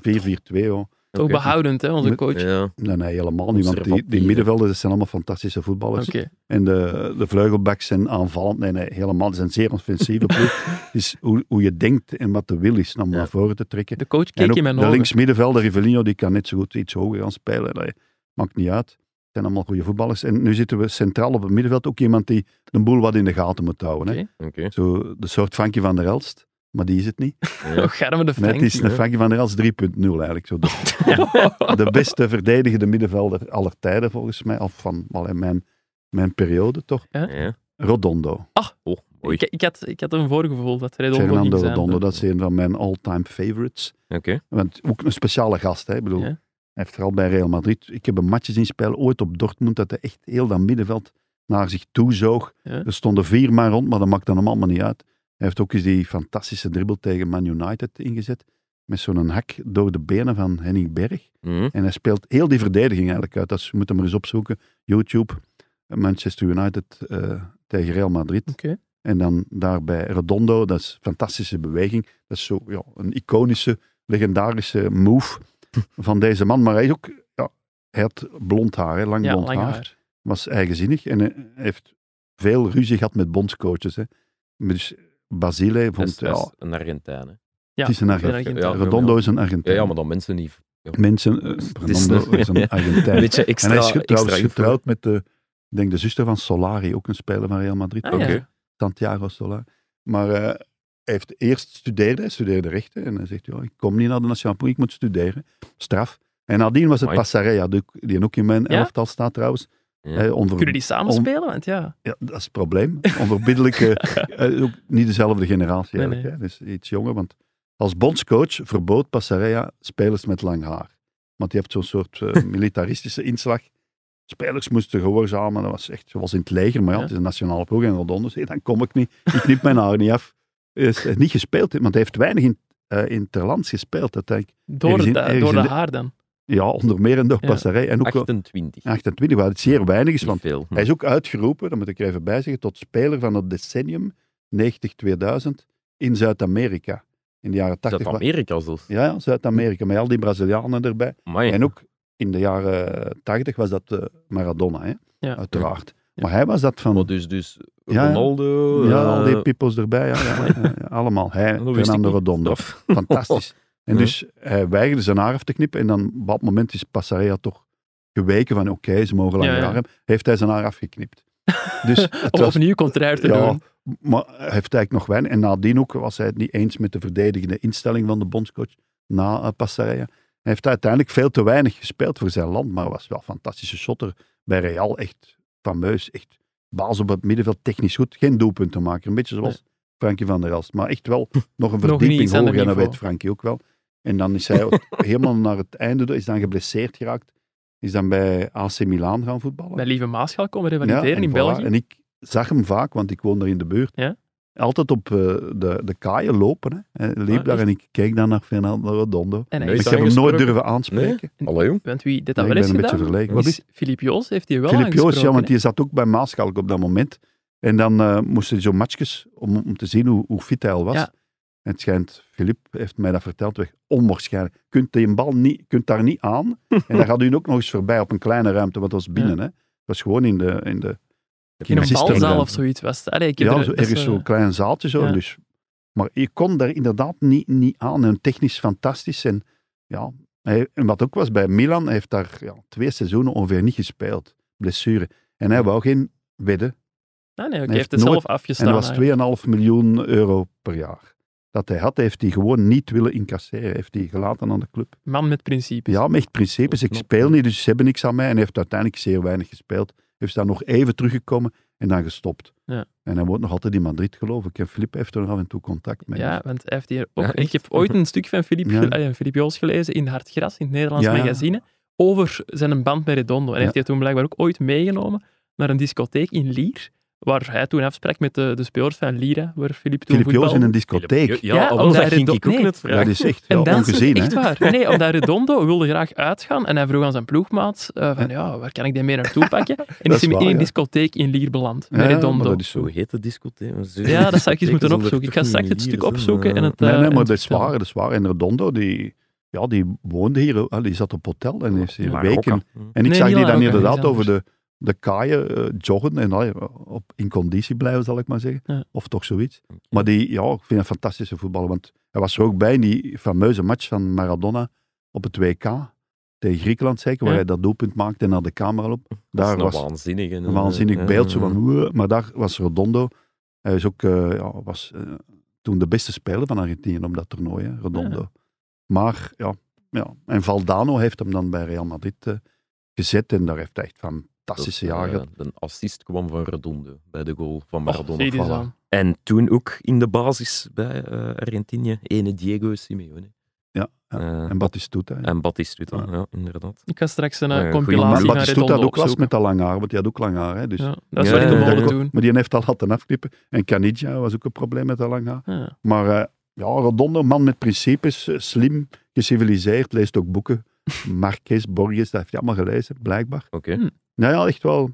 D: 4-4-2. hoor.
C: Toch
B: Oké.
C: behoudend, hè, onze
D: Met- eh,
C: coach.
B: Ja,
D: Nee, nee, helemaal niet, want die,
B: Observatief,
D: die
B: hè.
D: middenvelders dat zijn allemaal fantastische voetballers.
C: Oké.
D: En de, de vleugelbacks zijn aanvallend. Nee, nee, helemaal. Het is een zeer offensieve ploeg. Het is hoe, hoe je denkt en wat de wil is om naar voren te trekken.
C: De coach
D: En
C: keek
D: ook
C: in mijn
D: de
C: ogen.
D: linksmiddenvelder, Rivellino, die kan net zo goed iets hoger gaan spelen. Dat maakt niet uit. Het zijn allemaal goede voetballers. En nu zitten we centraal op het middenveld. Ook iemand die de boel wat in de gaten moet houden. Hè?
C: Oké.
B: oké.
D: Zo de soort Frankie van der Elst. Maar die is het niet.
B: Ja.
C: Oh, garme de
D: Net
C: Frank.
D: is een
B: hè?
D: Frankie van der Elst 3.0 eigenlijk. Zo de, de beste verdedigende middenvelder aller tijden volgens mij. Of van allee, mijn, mijn periode toch.
B: Ja.
D: Rodondo.
B: Oh, mooi.
C: Ik, ik, had, ik had een voorgevoel dat Redondo ging
D: Fernando
C: zijn.
D: Redondo, dat is een van mijn all-time favorites.
B: Oké.
D: Want ook een speciale gast, hè. Ik bedoel,
C: Ja.
D: hij heeft vooral bij Real Madrid. Ik heb een matje zien spelen ooit op Dortmund, dat hij echt heel dat middenveld naar zich toe zoog.
C: Ja.
D: Er stonden vier man rond, maar dat maakt dan hem allemaal niet uit. Hij heeft ook eens die fantastische dribbel tegen Man United ingezet. Met zo'n hak door de benen van Henning Berg.
B: Mhm.
D: En hij speelt heel die verdediging eigenlijk uit. Dat is- je moet hem maar eens opzoeken. YouTube, Manchester United eh, tegen Real Madrid.
C: Oké.
D: En dan daarbij Redondo, dat is een fantastische beweging. Dat is zo ja, een iconische, legendarische move van deze man. Maar hij is ook, ja, hij had blond haar, hè, lang
C: Ja,
D: blond
C: lang
D: haar.
C: haar.
D: Was eigenzinnig en hij heeft veel ruzie gehad met bondscoaches. Hè. Dus Basile
B: Dat
D: vond,
B: is,
D: ja,
B: dat is een Argentijn. hè.
C: Ja,
D: het is een
C: een
D: Argentijn.
C: Argentijn.
B: Ja.
D: Redondo is een
B: Ja,
D: Argentijn.
B: ja, maar dan mensen niet.
D: Mensen, eh,
B: Het is
D: Redondo
B: een-
D: is een
B: Een
D: Argentijn.
B: beetje extra.
D: en hij is ge- trouwens
B: extra info.
D: getrouwd met de, ik denk de zuster van Solari, ook een speler van Real Madrid.
C: Ah, ja.
B: Oké.
D: Santiago Solari. Maar eh, hij heeft eerst studeerde, hij studeerde rechten. En hij zegt, ja, ik kom niet naar de nationale ploeg, ik moet studeren. Straf. En nadien was het
B: Amai.
D: Passarella, die, die ook in mijn
C: Ja?
D: elftal staat trouwens.
B: Ja.
D: Eh, onver-
C: Kunnen die samen
D: Om-
C: spelen? Want ja,
D: ja, dat is het probleem. Onverbiddelijke, eh, ook niet dezelfde generatie
C: Nee,
D: eigenlijk. Hè? Dus iets jonger, want als bondscoach verbood Passarella spelers met lang haar. Want die heeft zo'n soort eh, militaristische inslag. Spelers moesten gehoorzamen, dat was echt zoals in het leger, maar ja,
C: Ja.
D: het is een nationale ploeg en Rodondo zei, dan kom ik niet, ik knip mijn haar niet af. Hij is eh, niet gespeeld, want hij heeft weinig in, eh in Terlands gespeeld, dat denk ik.
C: door,
D: Ergens in-
C: de,
D: ergens
C: door
D: in
C: de
D: de-
C: haar dan.
D: Ja, onder meer en door
C: Ja.
D: Passarella. En ook wel-
B: 28.
D: 28, waar het zeer weinig is,
B: Niet
D: want
B: veel.
D: hij is ook uitgeroepen, dat moet ik er even bij zeggen, tot speler van het decennium 90-2000 in Zuid-Amerika. In de jaren 80.
B: Zuid-Amerika zelfs.
D: Ja, ja, Zuid-Amerika, met al die Brazilianen erbij.
B: Amai.
D: En ook in de jaren 80 was dat eh, Maradona, hè?
C: Ja.
D: uiteraard.
C: Ja.
D: Maar hij was dat van
B: Maar dus, dus
D: Ja,
B: Ronaldo...
D: ja,
B: eh,
D: al die pippels erbij. Ja, ja, ja, ja, allemaal. Hij,
B: dat wist
D: Fernando
B: ik niet.
D: Redondo.
B: Straf.
D: Fantastisch. En
B: Ja.
D: dus hij weigerde zijn haar af te knippen. En dan op dat moment is Passarella toch geweken van oké, ze mogen langer
C: Ja, ja.
D: haar hebben. Heeft hij zijn haar afgeknipt. Dus het
C: Om
D: was,
C: opnieuw contrair te
D: ja,
C: doen.
D: maar hij heeft eigenlijk nog weinig. En nadien ook was hij het niet eens met de verdedigende instelling van de bondscoach na eh, Passarella. Hij heeft uiteindelijk veel te weinig gespeeld voor zijn land, maar was wel een fantastische shotter. Bij Real echt fameus, echt baas op het middenveld, technisch goed. Geen doelpunten maken, een beetje zoals Frankie van der Elst. Maar echt wel nog een
C: Nog niet
D: verdieping
C: iets aan
D: hoger, en dat
C: niveau.
D: weet Frankie ook wel. En dan is hij ook helemaal naar het einde, door- is dan geblesseerd geraakt. Is dan bij AC Milan gaan voetballen.
C: Mijn lieve Maaschaal komen
D: Ja,
C: revalideren
D: en
C: in
D: voilà.
C: België.
D: En ik zag hem vaak, want ik woonde er in de buurt.
C: Ja.
D: Altijd op eh, de, de kaaien lopen. Hè. Hij liep
C: Ah,
D: daar
C: echt?
D: en ik keek dan naar Fernando Redondo.
C: En hij
B: Nee,
C: is
D: Ik
B: dat
D: heb hem nooit
B: aangesproken?
D: durven aanspreken.
B: Allee, jong.
C: Want wie dit dan
D: Nee,
C: wel
D: ik
C: eens
D: ben een beetje
C: gedaan?
D: verlegen. Wat
C: is
D: is
C: Filip Joos heeft die wel
D: Filip Joos, ja,
C: aangesproken,
D: want
C: hè?
D: die zat ook bij Maaschalk op dat moment. En dan eh, moesten die zo matchjes om, om te zien hoe, hoe fit hij al was.
C: Ja.
D: En het schijnt, Filip heeft mij dat verteld, weg, onwaarschijnlijk. Kunt die een bal niet, kunt daar niet aan. en dan gaat u ook nog eens voorbij op een kleine ruimte, want dat was binnen. Hè. Het was gewoon in de, in de
C: in een
D: System
C: balzaal
D: dan.
C: of zoiets was het. Allee, ik heb
D: Ja,
C: er-
D: zo,
C: dat is,
D: ergens
C: eh,
D: zo'n klein zaaltje zo.
C: ja.
D: Dus, maar je kon daar inderdaad niet, niet aan. En technisch fantastisch. En, ja, hij- en wat ook was bij Milan, hij heeft daar ja, twee seizoenen ongeveer niet gespeeld. Blessure. En hij wou geen wedden.
C: Ah, nee, oké, hij
D: Hij
C: heeft
D: heeft
C: het zelf
D: nooit- En
C: afgestaan.
D: dat was
C: eigenlijk.
D: 2,5 miljoen euro per jaar. Dat hij had, heeft hij gewoon niet willen incasseren. Heeft hij gelaten aan de club.
C: Man met principes.
D: Ja, maar echt principes. Ik
B: Knap,
D: speel
B: ja.
D: niet, dus ze hebben niks aan mij. En hij heeft uiteindelijk zeer weinig gespeeld. Heeft daar nog even teruggekomen en dan gestopt.
C: Ja.
D: En hij woont nog altijd in Madrid, geloof ik. En Filip heeft er nog af en toe contact mee.
C: Ja, want hij heeft hier ook...
B: Ja,
C: ik
B: echt?
C: heb ooit een stuk van Filip,
D: Ja.
C: gele- allee, Filip Joos gelezen in Hard Gras, in het Nederlands
D: Ja.
C: magazine, over zijn band met Redondo. En
D: Ja.
C: heeft hij toen blijkbaar ook ooit meegenomen naar een discotheek in Lier, waar hij toen afsprak met de, de spelers van Lira, waar Filip toen
D: Filip Joos
C: voetbalde.
D: in een discotheek.
B: Ja,
C: Ja,
B: al
C: omdat
B: dat
C: hij
B: ging
C: dat-
B: ik ook
C: nee.
B: net
D: Dat
B: vragen.
D: is echt
C: En
D: ja,
C: dansen,
D: ongezien, hè?
C: echt waar. Nee, Nee, omdat Redondo wilde graag uitgaan en hij vroeg aan zijn ploegmaat eh, van ja, waar kan ik die mee naartoe pakken? En
D: is
C: is hij
D: waar,
C: in een
D: ja.
C: discotheek in Lier beland,
D: Ja,
C: met
D: ja, maar
C: Redondo.
D: dat is zo.
B: Zo heet de discotheek.
C: Ja, dat zou ik eens moeten opzoeken. Ik ga straks het stuk opzoeken en het... eh,
D: Nee, nee,
C: en
D: maar
C: het
D: dat is
C: vertellen.
D: waar, dat is waar. En Redondo, die, ja, die woonde hier, eh, die zat op hotel en heeft hier weken... En ik
C: Nee,
D: zag
C: niet
D: die dan
C: Larocca,
D: inderdaad
C: iets
D: over de, de kaaien eh, joggen en eh, op, in conditie blijven, zal ik maar zeggen.
C: Ja.
D: Of toch zoiets. Maar die, ja, ik vind hem een fantastische voetballer. Want hij was er ook bij in die fameuze match van Maradona op het WK tegen Griekenland, zeker, waar
C: Ja.
D: hij dat doelpunt maakte en naar de camera op. Daar was
B: waanzinnig.
D: een
B: eh,
D: waanzinnig beeld, zo van, "Oeh", maar daar was Redondo. Hij is ook, eh, ja, was eh, toen de beste speler van Argentinië op dat toernooi, hè, Redondo. Maar ja, ja, en Valdano heeft hem dan bij Real Madrid eh, gezet en daar heeft hij echt fantastische
B: eh,
D: jaren gehad.
B: Een assist kwam van Redondo bij de goal van
C: Och,
B: Maradona.
C: zie je die
B: Voilà.
C: zo.
B: En toen ook in de basis bij eh, Argentinië, ene Diego Simeone.
D: Ja, ja.
B: Eh,
D: En Batistuta. hè.
B: en Batistuta,
D: Ja.
B: ja. inderdaad.
C: Ik ga straks een eh,
B: Ja, ja, goeie
C: compilatie
D: Maar
B: man.
C: van
D: Batistuta
C: Redondo
D: had ook last
C: opzoeken.
D: met dat lang haar, want die had ook lang haar. Hè, dus.
C: Ja, dat is
B: Ja,
C: wat ik
B: ja,
C: hem
B: ja.
C: wilde
B: Dat
C: doen.
D: Maar die heeft al laten afknippen. En Canidia was ook een probleem met dat lang haar.
C: Ja.
D: Maar eh, ja, Redondo, man met principes, eh, slim, geciviliseerd, leest ook boeken. Marques, Borges, dat heeft hij allemaal gelezen, blijkbaar.
B: Oké.
C: Hm.
D: Nou ja, echt wel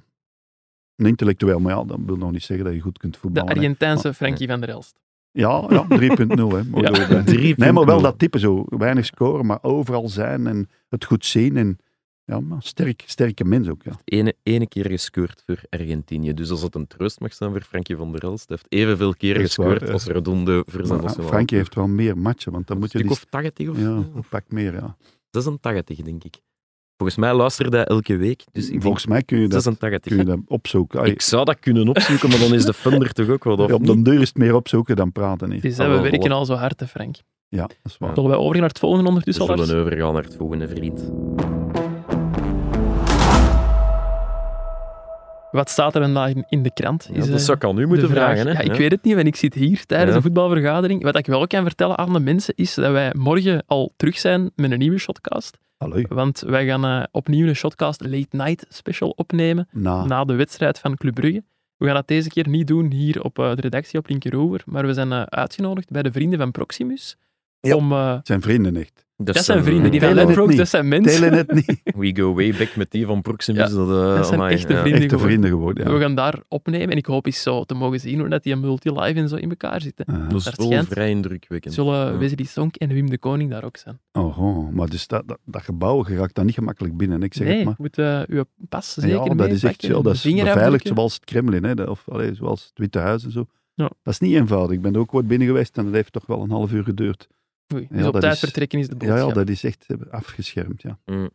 D: een intellectueel, maar ja, dat wil nog niet zeggen dat je goed kunt
C: De
D: voetballen. hè.
C: Argentijnse Frankie van der Elst.
D: Ja, ja 3.0. hè, mogen we bij- Nee, maar wel dat type zo. Weinig scoren, maar overal zijn en het goed zien. En, ja, maar sterk, sterke mens ook. Ja.
B: Ene, ene keer gescoord voor Argentinië. Dus als het een troost mag zijn voor Frankie van der Elst, hij heeft evenveel keer
D: Dat is waar,
B: gescoord
D: ja.
B: als Redondo voor zijn
D: Maar, ah,
B: nationale
D: Frankie
B: ploeg.
D: heeft wel meer matchen, want dan
B: Een
D: moet je
B: stuk
D: die...
B: of 80 of
D: Ja,
B: zo,
D: een pak meer, ja.
B: 86, denk ik. Volgens mij luistert hij elke week. Dus ik
D: Volgens mij kun je
B: denk
D: dat,
B: 86.
D: kun je dat opzoeken. Ah,
B: Ik zou dat kunnen opzoeken, maar dan is de funder toch ook wat
D: ja,
B: af.
D: op de deur is het meer opzoeken dan praten.
C: Het
D: Hier.
C: is dat
B: Ah,
C: we
B: wel,
C: werken
B: voilà.
C: al zo hard, hè, Frank.
D: Ja, dat is waar.
C: Zullen wij overgaan naar het volgende
B: We
C: ondertussen?
B: zullen
C: Lars?
B: overgaan naar het volgende vriend.
C: Wat staat er vandaag in- in de krant?
B: Ja,
C: Is,
B: dat
C: eh,
B: zou ik al nu
C: de
B: moeten
C: vraag.
B: vragen. Hè?
C: Ja, ik weet het niet, want ik zit hier tijdens
B: Ja.
C: een voetbalvergadering. Wat ik wel kan vertellen aan de mensen is dat wij morgen al terug zijn met een nieuwe shotcast.
D: Hallo.
C: Want wij gaan eh, opnieuw een shotcast late night special opnemen.
D: Na.
C: na de wedstrijd van Club Brugge. We gaan dat deze keer niet doen hier op eh, de redactie op Linkeroever, maar we zijn eh, uitgenodigd bij de vrienden van Proximus om eh,
D: Het zijn vrienden echt.
C: Dat zijn vrienden die van
D: Telenet
C: Ledbrokes,
D: niet.
C: dat zijn mensen.
D: Delen het niet.
B: We go way back met die van Proximus.
C: Ja,
B: dat, eh,
C: dat zijn
B: amai,
C: echte
B: ja.
C: vrienden.
D: Echte vrienden geworden,
C: We
D: ja.
C: gaan daar opnemen en ik hoop eens zo te mogen zien hoe dat die multi-live en zo in elkaar zitten.
D: Ah.
B: Dat is
C: Dat
B: wel
C: schijnt.
B: vrij indrukwekkend.
C: Zullen
B: Ja.
C: Wesley Sonk en Wim de Koning daar ook zijn?
D: Oho, maar dus dat, dat, dat gebouw geraakt dan niet gemakkelijk binnen. Ik zeg
C: nee,
D: het
C: je
D: maar.
C: moet eh, uw pas zeker
D: ja, dat is echt
C: meepakken,
D: zo. Dat is beveiligd
C: vingerafdrukken.
D: zoals het Kremlin, hè, de- of allee, zoals het Witte Huis en zo.
C: Ja.
D: Dat is niet eenvoudig. Ik ben er ook ooit binnen geweest en dat heeft toch wel een half uur geduurd.
C: Oei,
D: Ja,
C: dus op
D: dat
C: tijd
D: is-
C: vertrekken is de
D: Ja,
C: boodschap.
D: ja, dat is echt eh, afgeschermd, ja.
B: Mm.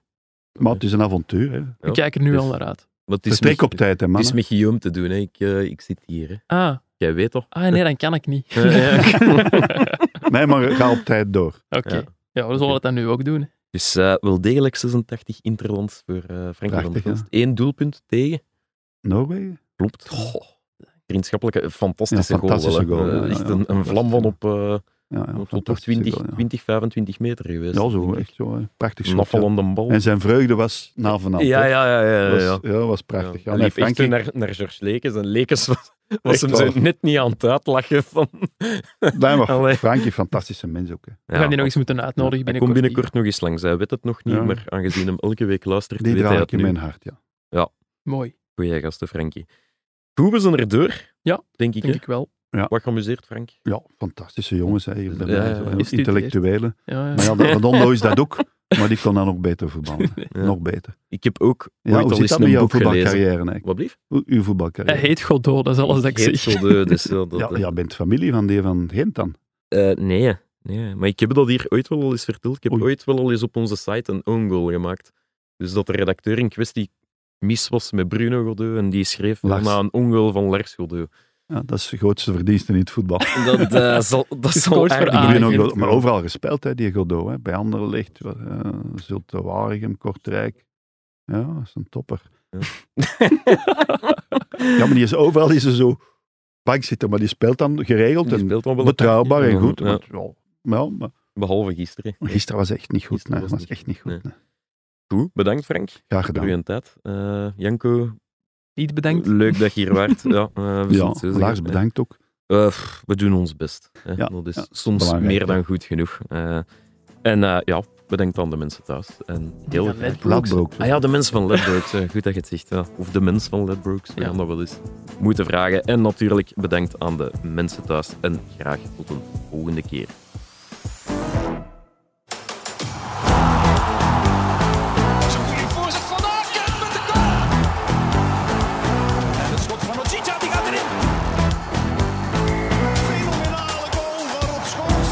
D: Maar het is een avontuur, hè.
B: Ja,
C: Ik kijk er nu
B: dus-
C: al naar uit.
B: Maar het is
D: Vertrek
B: met-
D: op tijd, hè,
B: Het is
D: mannen.
B: met Guillaume te doen. Hè. Ik, eh, ik zit hier. Hè.
C: Ah,
B: Jij weet toch?
C: ah, nee, dan kan ik niet.
B: Ja, ja.
D: Nee, maar ga op tijd door.
C: Oké.
B: Ja.
C: Ja, we zullen dat dan nu ook doen.
B: Dus eh, wel degelijk 86 interlands voor eh Frankrijk.
D: Prachtig,
B: Eén doelpunt tegen.
D: Noorwegen?
B: Klopt. Vriendschappelijke, eh, fantastische
D: Ja, fantastische
B: goal. wel, hè.
D: goal,
B: Eh,
D: ja,
B: echt
D: ja.
B: een, een vlam van op, eh,
D: Ja, ja,
B: tot toch
D: fantastisch
B: 20,
D: wel, ja.
B: 20, 25 meter geweest.
D: Ja,
B: denk
D: zo,
B: ik.
D: echt zo. hè. Prachtig
B: Een
D: schot, ja.
B: afval aan de bal.
D: En zijn vreugde was na van hand,
B: Ja,
D: hè.
B: ja, ja. ja, ja, ja.
D: Was, ja, was prachtig. Ja,
B: Hij
D: nee,
B: liep echt
D: Frankrijk-
B: naar, naar George Lekens. En Lekens was, was
D: Echt
B: hem zo
D: waar.
B: net niet aan het uitlachen. Van,
D: Nee, maar
B: Allee.
D: Frankie, fantastische mens ook. Hè.
C: We gaan die nog eens moeten uitnodigen
B: Hij
C: binnenkort.
B: komt binnenkort nog eens langs. Hij weet het nog niet,
D: Ja.
B: maar aangezien hem elke week luistert,
D: Die
B: weet hij
D: draai
B: het
D: ik in
B: nu.
D: mijn hart, ja.
C: Mooi,
B: Goeie gasten, Frankie. Goed, we zijn er door.
C: Ja,
B: denk ik.
C: denk
B: hè?
C: ik wel.
B: Wat geamuseerd, Frank.
D: Ja, fantastische jongens, hè, hier bij
B: Ja,
D: mij,
B: ja,
D: zo,
B: ja.
D: en
C: Gestudeerd.
D: intellectuelen.
C: Ja, ja.
D: Maar ja, Redondo is dat ook, maar die kon dan nog beter voetballen. Nog beter.
B: Ik heb ook
D: Ja,
B: ooit
D: hoe
B: al
D: zit
B: eens
D: dat met
B: een
D: jouw
B: boek gelezen.
D: voetbalcarrière eigenlijk?
B: Wat blieft?
D: Hoe- Uw
C: Hij
D: voetbalcarrière?
C: heet Godot, dat is alles dat ik
B: Geet
C: zeg.
B: zo de- dus, ja, dat-
D: Ja, ja, bent familie van die van Gent dan?
B: eh, nee, nee, maar ik heb dat hier ooit wel al eens verteld. Ik heb
D: Oei.
B: ooit wel al eens op onze site een own goal gemaakt. Dus dat de redacteur in kwestie mis was met Bruno Godeu en die schreef
D: Lars.
B: na een own goal van Lars Godeu.
D: Ja, dat is de grootste verdienste in het voetbal.
B: Dat eh, zal, dat zal
C: scoort voor
B: aardig
C: Ah,
D: Bruno
C: Gent.
D: Godot, maar overal gespeeld, hè, die Godot. Hè. Bij Anderlecht, eh Zulte Waregem, Kortrijk. Ja, dat is een topper.
B: Ja.
D: Ja, maar die is overal is er zo bank zitten, maar die speelt dan geregeld
B: Die
D: en
B: speelt dan wel een
D: Mm. betrouwbaar
B: partij.
D: en goed.
B: Ja,
D: want ja, ja, maar
B: behalve gisteren.
D: gisteren was echt niet goed.
B: Gisteren
D: Nee,
B: was
D: was
B: niet
D: echt niet goed.
B: nee.
D: nee.
B: Goed, bedankt Frank
D: Graag
B: voor
D: gedaan.
B: uw tijd. Eh, Janko,
C: Niet bedankt.
B: leuk dat je hier waart. ja, eh, we zullen
D: Ja,
B: het zo zeggen.
D: Lars, bedankt ook.
B: Eh, pff, we doen ons best. Hè.
D: Ja,
B: dat is
D: ja,
B: soms
D: belangrijk,
B: meer dan
D: ja.
B: goed genoeg. Eh, en eh, ja, bedankt aan de mensen thuis. En heel
C: van Ledbrokes.
D: Ladbrook.
B: Ah ja, de mensen van Ledbrokes. eh, goed dat je het zegt. ja. Of de mens van Ledbrokes. We
C: Ja.
B: gaan dat wel eens moeten vragen. En natuurlijk bedankt aan de mensen thuis. En graag tot een volgende keer.
A: Ze goede voorzet van Aken met de goal. En het schot van Ochita, die gaat erin. Fenomenale goal van Rob Schoons.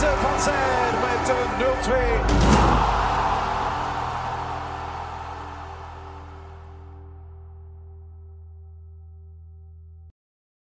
A: Dat van Zijr met de 0-2.